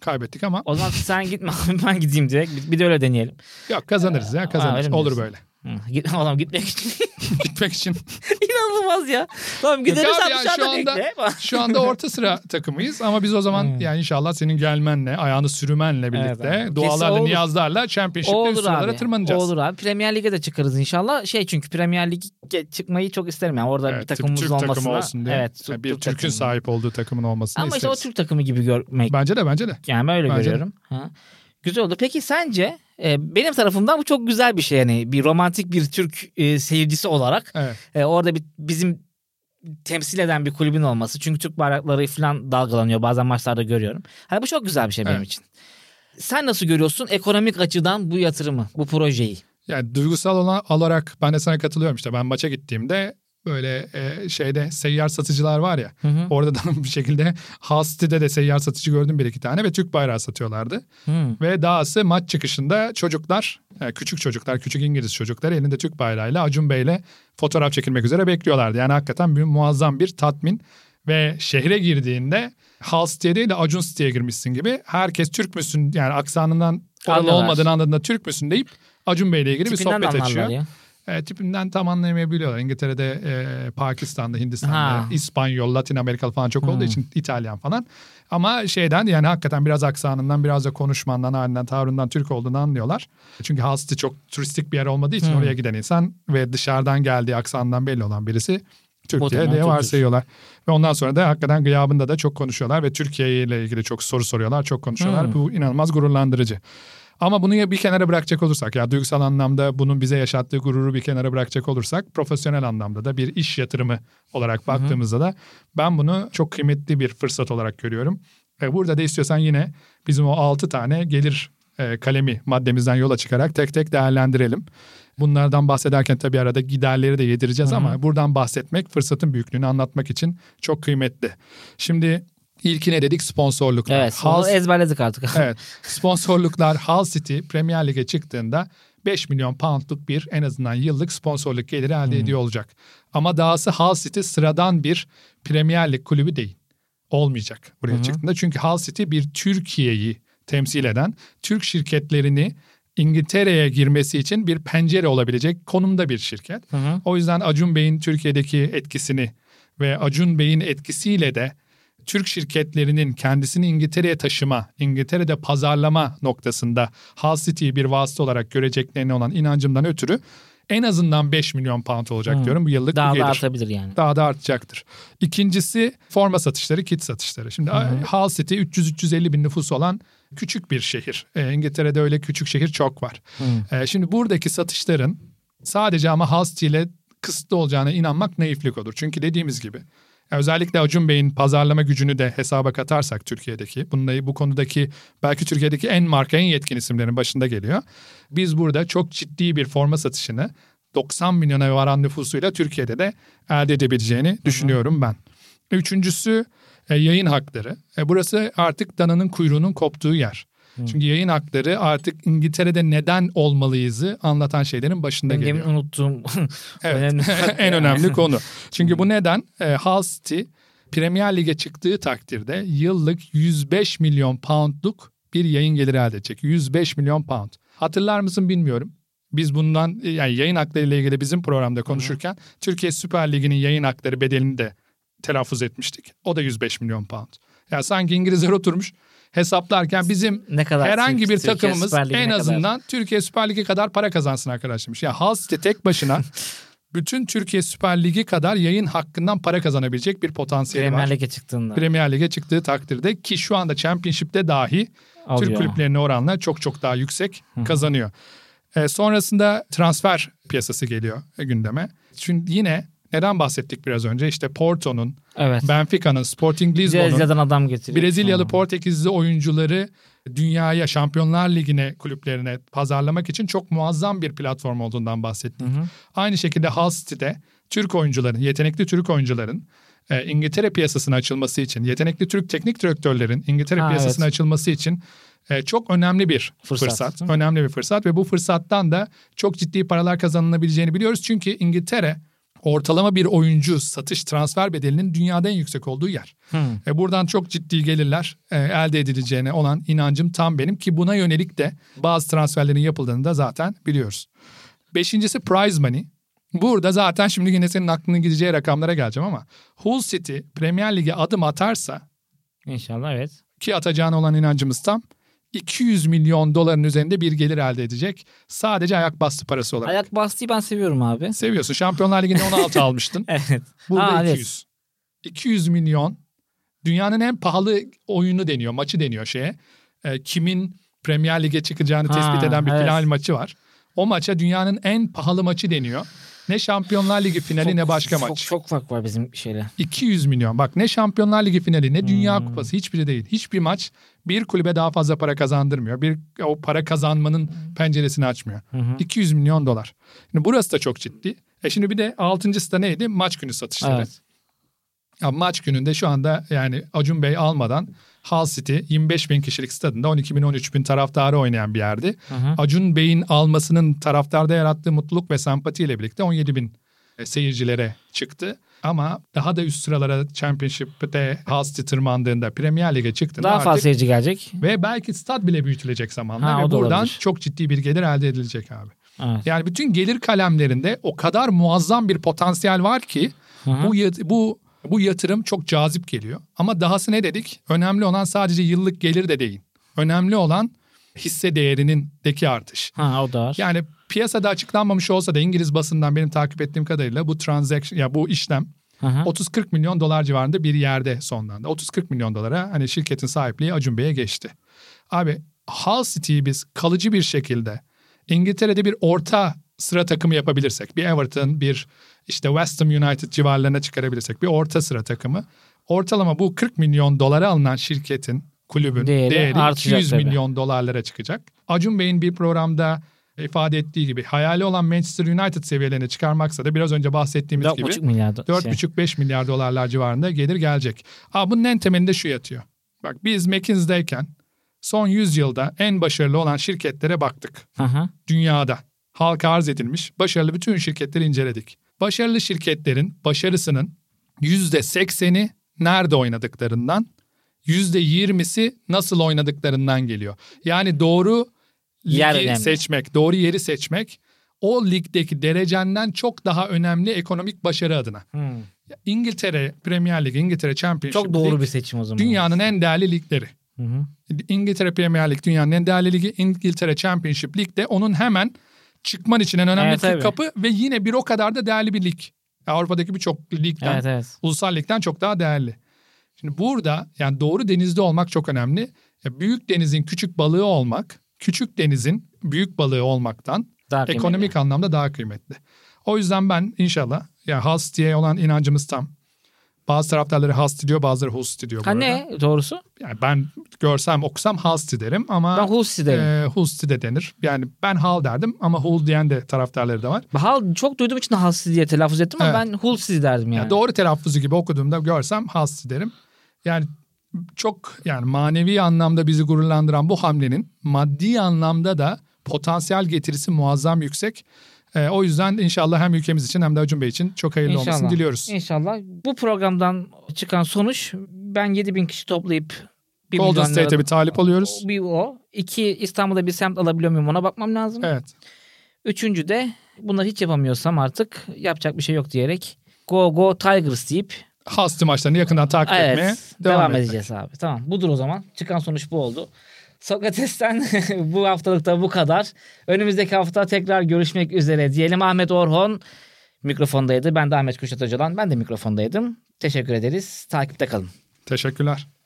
Speaker 3: kaybettik ama
Speaker 2: O zaman sen gitme abi, ben gideyim direkt. Bir- Bir de öyle deneyelim.
Speaker 3: yok kazanırız ya kazanırız.
Speaker 2: öyle mi
Speaker 3: Olur
Speaker 2: diyorsun?
Speaker 3: böyle.
Speaker 2: Hı, Git, adam gitmek için
Speaker 3: Gitmek için.
Speaker 2: inanılmaz ya. Tamam gideriz
Speaker 3: abi
Speaker 2: abi
Speaker 3: yani
Speaker 2: dışarıda
Speaker 3: şu anda-
Speaker 2: bekle.
Speaker 3: Şu anda orta sıra takımıyız ama biz o zaman
Speaker 2: Hmm.
Speaker 3: yani inşallah senin gelmenle, ayağını sürmenle
Speaker 2: Evet
Speaker 3: birlikte
Speaker 2: abi.
Speaker 3: dualarla,
Speaker 2: Kesin olur.
Speaker 3: niyazlarla championship'te üst
Speaker 2: Olur
Speaker 3: sıralara
Speaker 2: abi.
Speaker 3: tırmanacağız.
Speaker 2: Olur abi. Premier Lig'e de çıkarız inşallah. Şey çünkü Premier Lig'e çıkmayı çok isterim yani. Orada
Speaker 3: Evet,
Speaker 2: bir takımımız
Speaker 3: Türk
Speaker 2: olmasına.
Speaker 3: takımı olsun diye.
Speaker 2: Evet.
Speaker 3: Yani bir Türk'ün
Speaker 2: takımı.
Speaker 3: sahip olduğu takımın olmasını
Speaker 2: Ama işte o
Speaker 3: isteriz.
Speaker 2: Türk takımı gibi görmek.
Speaker 3: Bence de bence de.
Speaker 2: Yani ben öyle
Speaker 3: Bence de.
Speaker 2: görüyorum. Ha. Güzel oldu. Peki sence e, benim tarafımdan bu çok güzel bir şey yani bir romantik bir Türk e, seyircisi olarak
Speaker 3: Evet.
Speaker 2: e, orada bir bizim temsil eden bir kulübün olması. Çünkü Türk bayrakları falan dalgalanıyor bazen maçlarda görüyorum. Hani bu çok güzel bir şey benim
Speaker 3: Evet.
Speaker 2: için. Sen nasıl görüyorsun ekonomik açıdan bu yatırımı, bu projeyi?
Speaker 3: Yani duygusal olan, olarak ben de sana katılıyorum işte. Ben maça gittiğimde böyle e, şeyde seyyar satıcılar var ya.
Speaker 2: Hı hı.
Speaker 3: Orada da bir şekilde Hasti'de de seyyar satıcı gördüm bir iki tane ve Türk bayrağı satıyorlardı.
Speaker 2: Hı.
Speaker 3: Ve dahası maç çıkışında çocuklar, yani küçük çocuklar, küçük İngiliz çocuklar elinde Türk bayrağıyla Acun Bey'le fotoğraf çekilmek üzere bekliyorlardı. Yani hakikaten bir muazzam bir tatmin ve şehre girdiğinde Hal City'ye değil de Acun City'ye girmişsin gibi herkes Türk müsün yani aksanından oralı
Speaker 2: Anlıyorlar.
Speaker 3: olmadığını anladığında Türk müsün deyip Acun Bey'le ilgili bir
Speaker 2: Tipinden de
Speaker 3: sohbet
Speaker 2: anlarlar
Speaker 3: açıyor.
Speaker 2: ya.
Speaker 3: E, tipinden tam anlayamayabiliyorlar. İngiltere'de, e, Pakistan'da, Hindistan'da,
Speaker 2: Ha.
Speaker 3: İspanyol, Latin Amerikalı falan çok olduğu
Speaker 2: Hmm.
Speaker 3: için İtalyan falan. Ama şeyden yani hakikaten biraz aksanından, biraz da konuşmandan, halinden, tavrından Türk olduğunu anlıyorlar. Çünkü Hasti çok turistik bir yer olmadığı için
Speaker 2: Hmm.
Speaker 3: oraya giden insan ve dışarıdan geldiği aksandan belli olan birisi Türk
Speaker 2: O
Speaker 3: diye,
Speaker 2: zaman
Speaker 3: diye
Speaker 2: Türk'tür.
Speaker 3: varsayıyorlar. Ve ondan sonra da hakikaten gıyabında da çok konuşuyorlar ve Türkiye ile ilgili çok soru soruyorlar, çok konuşuyorlar.
Speaker 2: Hmm.
Speaker 3: Bu inanılmaz gururlandırıcı. Ama bunu ya bir kenara bırakacak olursak ya duygusal anlamda bunun bize yaşattığı gururu bir kenara bırakacak olursak profesyonel anlamda da bir iş yatırımı olarak baktığımızda da ben bunu çok kıymetli bir fırsat olarak görüyorum. E, burada da istiyorsan yine bizim o 6 tane gelir e, kalemi maddemizden yola çıkarak tek tek değerlendirelim. Bunlardan bahsederken tabii arada giderleri de yedireceğiz
Speaker 2: Hı hı.
Speaker 3: ama buradan bahsetmek fırsatın büyüklüğünü anlatmak için çok kıymetli. Şimdi ilkine dedik sponsorluklar.
Speaker 2: Evet.
Speaker 3: Hal-
Speaker 2: Onu ezberledik artık.
Speaker 3: Evet. Sponsorluklar Hull City Premier Lig'e çıktığında 5 milyon poundluk bir en azından yıllık sponsorluk geliri elde ediyor olacak. Ama dahası Hull City sıradan bir Premier Lig kulübü değil. Olmayacak buraya çıktığında. Çünkü Hull City bir Türkiye'yi temsil eden Türk şirketlerini İngiltere'ye girmesi için bir pencere olabilecek konumda bir şirket.
Speaker 2: Hı hı.
Speaker 3: O yüzden Acun Bey'in Türkiye'deki etkisini ve Acun Bey'in etkisiyle de Türk şirketlerinin kendisini İngiltere'ye taşıma, İngiltere'de pazarlama noktasında Hull City'yi bir vasıta olarak göreceklerine olan inancımdan ötürü en azından 5 milyon pound olacak
Speaker 2: Hı.
Speaker 3: diyorum bu yıllık
Speaker 2: Daha
Speaker 3: bu
Speaker 2: da
Speaker 3: gelir.
Speaker 2: artabilir yani.
Speaker 3: Daha da artacaktır. İkincisi forma satışları, kit satışları. Şimdi e, Hull City 300-350 bin nüfus olan küçük bir şehir. Ee, İngiltere'de öyle küçük şehir çok var. Ee, şimdi buradaki satışların sadece ama Hasti ile kısıtlı olacağına inanmak naiflik olur. Çünkü dediğimiz gibi ya özellikle Acun Bey'in pazarlama gücünü de hesaba katarsak Türkiye'deki, bununla bu konudaki belki Türkiye'deki en marka en yetkin isimlerin başında geliyor. Biz burada çok ciddi bir forma satışını 90 milyona varan nüfusuyla Türkiye'de de elde edebileceğini düşünüyorum ben. Üçüncüsü e, yayın hakları. E, burası artık dananın kuyruğunun koptuğu yer. Çünkü yayın hakları artık İngiltere'de neden olmalıyızı anlatan şeylerin başında
Speaker 2: Benim
Speaker 3: geliyor.
Speaker 2: demin unuttuğum
Speaker 3: Evet.
Speaker 2: önemli.
Speaker 3: en önemli konu. Çünkü bu neden e, Hull City Premier Lig'e çıktığı takdirde yıllık 105 milyon poundluk bir yayın geliri elde edecek. 105 milyon pound. Hatırlar mısın bilmiyorum. Biz bundan e, yani yayın hakları ile ilgili bizim programda konuşurken Türkiye Süper Ligi'nin yayın hakları bedelini de telaffuz etmiştik. O da 105 milyon pound. Yani sanki İngilizler oturmuş hesaplarken bizim
Speaker 2: ne kadar
Speaker 3: herhangi bir
Speaker 2: Türk- Türkiye
Speaker 3: takımımız
Speaker 2: Süper Ligi'ne
Speaker 3: en
Speaker 2: kadar.
Speaker 3: azından Türkiye Süper Ligi kadar para kazansın arkadaş demiş. Ya Hull City tek başına bütün Türkiye Süper Ligi kadar yayın hakkından para kazanabilecek bir potansiyeli var.
Speaker 2: Premier Lig'e çıktığında
Speaker 3: Premier Lig'e çıktığı takdirde ki şu anda Championship'te dahi
Speaker 2: alıyor.
Speaker 3: Türk kulüplerine oranla çok çok daha yüksek kazanıyor. E, sonrasında transfer piyasası geliyor e, gündeme. Çünkü yine neden bahsettik biraz önce? İşte Porto'nun,
Speaker 2: Evet.
Speaker 3: Benfica'nın, Sporting Lisbon'un
Speaker 2: Brezilya'dan adam getiriyor.
Speaker 3: Brezilyalı
Speaker 2: Hı.
Speaker 3: Portekizli oyuncuları dünyaya, Şampiyonlar Ligi'ne, kulüplerine pazarlamak için çok muazzam bir platform olduğundan bahsettik.
Speaker 2: Hı hı.
Speaker 3: Aynı şekilde Hull City'de Türk oyuncuların, yetenekli Türk oyuncuların e, İngiltere piyasasına açılması için, yetenekli Türk teknik direktörlerin İngiltere
Speaker 2: Ha,
Speaker 3: piyasasına
Speaker 2: evet.
Speaker 3: açılması için e, çok önemli bir
Speaker 2: Fırsat,
Speaker 3: fırsat.
Speaker 2: değil mi?
Speaker 3: Önemli bir fırsat ve bu fırsattan da çok ciddi paralar kazanılabileceğini biliyoruz. Çünkü İngiltere ortalama bir oyuncu satış transfer bedelinin dünyada en yüksek olduğu yer.
Speaker 2: Hı.
Speaker 3: E, buradan çok ciddi gelirler e, elde edileceğine olan inancım tam benim ki buna yönelik de bazı transferlerin yapıldığını da zaten biliyoruz. Beşincisi prize money. Burada zaten şimdi yine senin aklına gideceği rakamlara geleceğim ama Hull City Premier Lig'e adım atarsa
Speaker 2: İnşallah evet.
Speaker 3: ki atacağına olan inancımız tam 200 milyon doların üzerinde bir gelir elde edecek. Sadece ayak bastı parası olarak.
Speaker 2: Ayak bastığı ben seviyorum abi.
Speaker 3: Seviyorsun. Şampiyonlar Ligi'nde 16 almıştın.
Speaker 2: Evet.
Speaker 3: Burada
Speaker 2: Aa, evet.
Speaker 3: 200. 200 milyon. Dünyanın en pahalı oyunu deniyor, maçı deniyor şeye. Ee, kimin Premier Lig'e çıkacağını
Speaker 2: Ha,
Speaker 3: tespit eden bir
Speaker 2: evet.
Speaker 3: final maçı var. O maça dünyanın en pahalı maçı deniyor. Ne Şampiyonlar Ligi finali
Speaker 2: Çok-
Speaker 3: ne başka
Speaker 2: çok,
Speaker 3: maç.
Speaker 2: Çok fark var bizim şeyle.
Speaker 3: 200 milyon. Bak ne Şampiyonlar Ligi finali ne Dünya
Speaker 2: Hmm.
Speaker 3: Kupası hiçbiri değil. Hiçbir maç bir kulübe daha fazla para kazandırmıyor. Bir o para kazanmanın penceresini açmıyor.
Speaker 2: Hmm. Hı hı.
Speaker 3: 200 milyon dolar. Şimdi burası da çok ciddi. E şimdi bir de altıncısı da neydi? Maç günü satışları.
Speaker 2: Evet.
Speaker 3: Ya maç gününde şu anda yani Acun Bey almadan Hull City 25 bin kişilik stadında 12 bin 13 bin taraftarı oynayan bir yerdi.
Speaker 2: Hı hı.
Speaker 3: Acun Bey'in almasının taraftarda yarattığı mutluluk ve sempatiyle birlikte 17 bin e, seyircilere çıktı. Ama daha da üst sıralara Championship'te Hull City tırmandığında Premier Lig'e çıktığında
Speaker 2: Daha
Speaker 3: artık
Speaker 2: fazla seyirci gelecek.
Speaker 3: ve belki stad bile büyütülecek zamanla
Speaker 2: Ha, o da
Speaker 3: ve buradan
Speaker 2: olabilir.
Speaker 3: çok ciddi bir gelir elde edilecek abi.
Speaker 2: Evet.
Speaker 3: Yani bütün gelir kalemlerinde o kadar muazzam bir potansiyel var ki
Speaker 2: Hı hı.
Speaker 3: bu yat- bu bu yatırım çok cazip geliyor. Ama dahası ne dedik? Önemli olan sadece yıllık gelir de değil. Önemli olan hisse değerinindeki artış.
Speaker 2: Ha o da var.
Speaker 3: Yani piyasada açıklanmamış olsa da İngiliz basından benim takip ettiğim kadarıyla bu transaction ya bu işlem
Speaker 2: Hı hı.
Speaker 3: 30-40 milyon dolar civarında bir yerde sonlandı. 30-40 milyon dolara hani şirketin sahipliği Acun Bey'e geçti. Abi Hull City'yi biz kalıcı bir şekilde İngiltere'de bir orta sıra takımı yapabilirsek, bir Everton, bir işte West Ham United civarlarına çıkarabilirsek bir orta sıra takımı. Ortalama bu 40 milyon dolara alınan şirketin, kulübün
Speaker 2: Değeri
Speaker 3: değeri,
Speaker 2: artacak
Speaker 3: 200
Speaker 2: tabii.
Speaker 3: milyon dolarlara çıkacak. Acun Bey'in bir programda ifade ettiği gibi hayali olan Manchester United seviyelerine çıkarmaksa da biraz önce bahsettiğimiz gibi
Speaker 2: 4,5 milyar. do- şey.
Speaker 3: 4,5-5 milyar dolarlar civarında gelir gelecek. Aa, bunun en temelinde şu yatıyor. Bak biz McKinsey'deyken son 100 yılda en başarılı olan şirketlere baktık.
Speaker 2: Hı hı.
Speaker 3: Dünyada halka arz edilmiş başarılı bütün şirketleri inceledik. Başarılı şirketlerin başarısının %80'i nerede oynadıklarından, %20'si nasıl oynadıklarından geliyor. Yani doğru
Speaker 2: Yer
Speaker 3: ligi
Speaker 2: önemli.
Speaker 3: seçmek, doğru yeri seçmek o ligdeki derecenden çok daha önemli ekonomik başarı adına.
Speaker 2: Hı.
Speaker 3: İngiltere Premier Lig, İngiltere Championship
Speaker 2: Çok doğru
Speaker 3: Lig,
Speaker 2: bir seçim o zaman.
Speaker 3: dünyanın en değerli ligleri.
Speaker 2: Hı hı.
Speaker 3: İngiltere Premier Lig dünyanın en değerli ligi, İngiltere Championship Lig de onun hemen çıkman için en önemli
Speaker 2: Evet, tabii.
Speaker 3: kapı ve yine bir o kadar da değerli bir lig. Avrupa'daki birçok ligden,
Speaker 2: Evet evet.
Speaker 3: ulusal ligden çok daha değerli. Şimdi burada yani doğru denizde olmak çok önemli. Ya büyük denizin küçük balığı olmak, küçük denizin büyük balığı olmaktan
Speaker 2: Daha
Speaker 3: ekonomik
Speaker 2: kıymetli.
Speaker 3: anlamda daha kıymetli. O yüzden ben inşallah ya Hull diye olan inancımız tam. Bazı taraftarları Hull diyor bazıları Hull diyor. bu
Speaker 2: Ha
Speaker 3: arada.
Speaker 2: ne doğrusu?
Speaker 3: Yani ben görsem okusam Hull derim ama
Speaker 2: Ben Hulsi derim.
Speaker 3: e, Hull de denir. Yani ben Hull derdim ama Hull diyen de taraftarları da var.
Speaker 2: Hal çok duyduğum için halsiz diye telaffuz ettim ama
Speaker 3: Evet.
Speaker 2: ben hulsiz derdim yani.
Speaker 3: Yani doğru telaffuzu gibi okuduğumda görsem Hull derim. Yani çok yani manevi anlamda bizi gururlandıran bu hamlenin maddi anlamda da potansiyel getirisi muazzam yüksek. E, o yüzden inşallah hem ülkemiz için hem de Acun Bey için çok hayırlı olmasını diliyoruz.
Speaker 2: İnşallah. Bu programdan çıkan sonuç ben 7000 bin kişi toplayıp bir
Speaker 3: Golden
Speaker 2: milyon
Speaker 3: State'e
Speaker 2: lira-
Speaker 3: bir talip alıyoruz.
Speaker 2: Bir o. İki İstanbul'da bir semt alabiliyor muyum ona bakmam lazım.
Speaker 3: Evet.
Speaker 2: Üçüncü de bunları hiç yapamıyorsam artık yapacak bir şey yok diyerek Go Go Tigers deyip
Speaker 3: Hasti maçlarını yakından takip
Speaker 2: evet
Speaker 3: etmeye
Speaker 2: devam,
Speaker 3: devam, etmek.
Speaker 2: edeceğiz abi. Tamam budur o zaman. Çıkan sonuç bu oldu. Sokrates'ten bu haftalıkta bu kadar. Önümüzdeki hafta tekrar görüşmek üzere diyelim. Ahmet Orhon mikrofondaydı. Ben de Ahmet Kuşat Öcalan. Ben de mikrofondaydım. Teşekkür ederiz. Takipte kalın.
Speaker 3: Teşekkürler.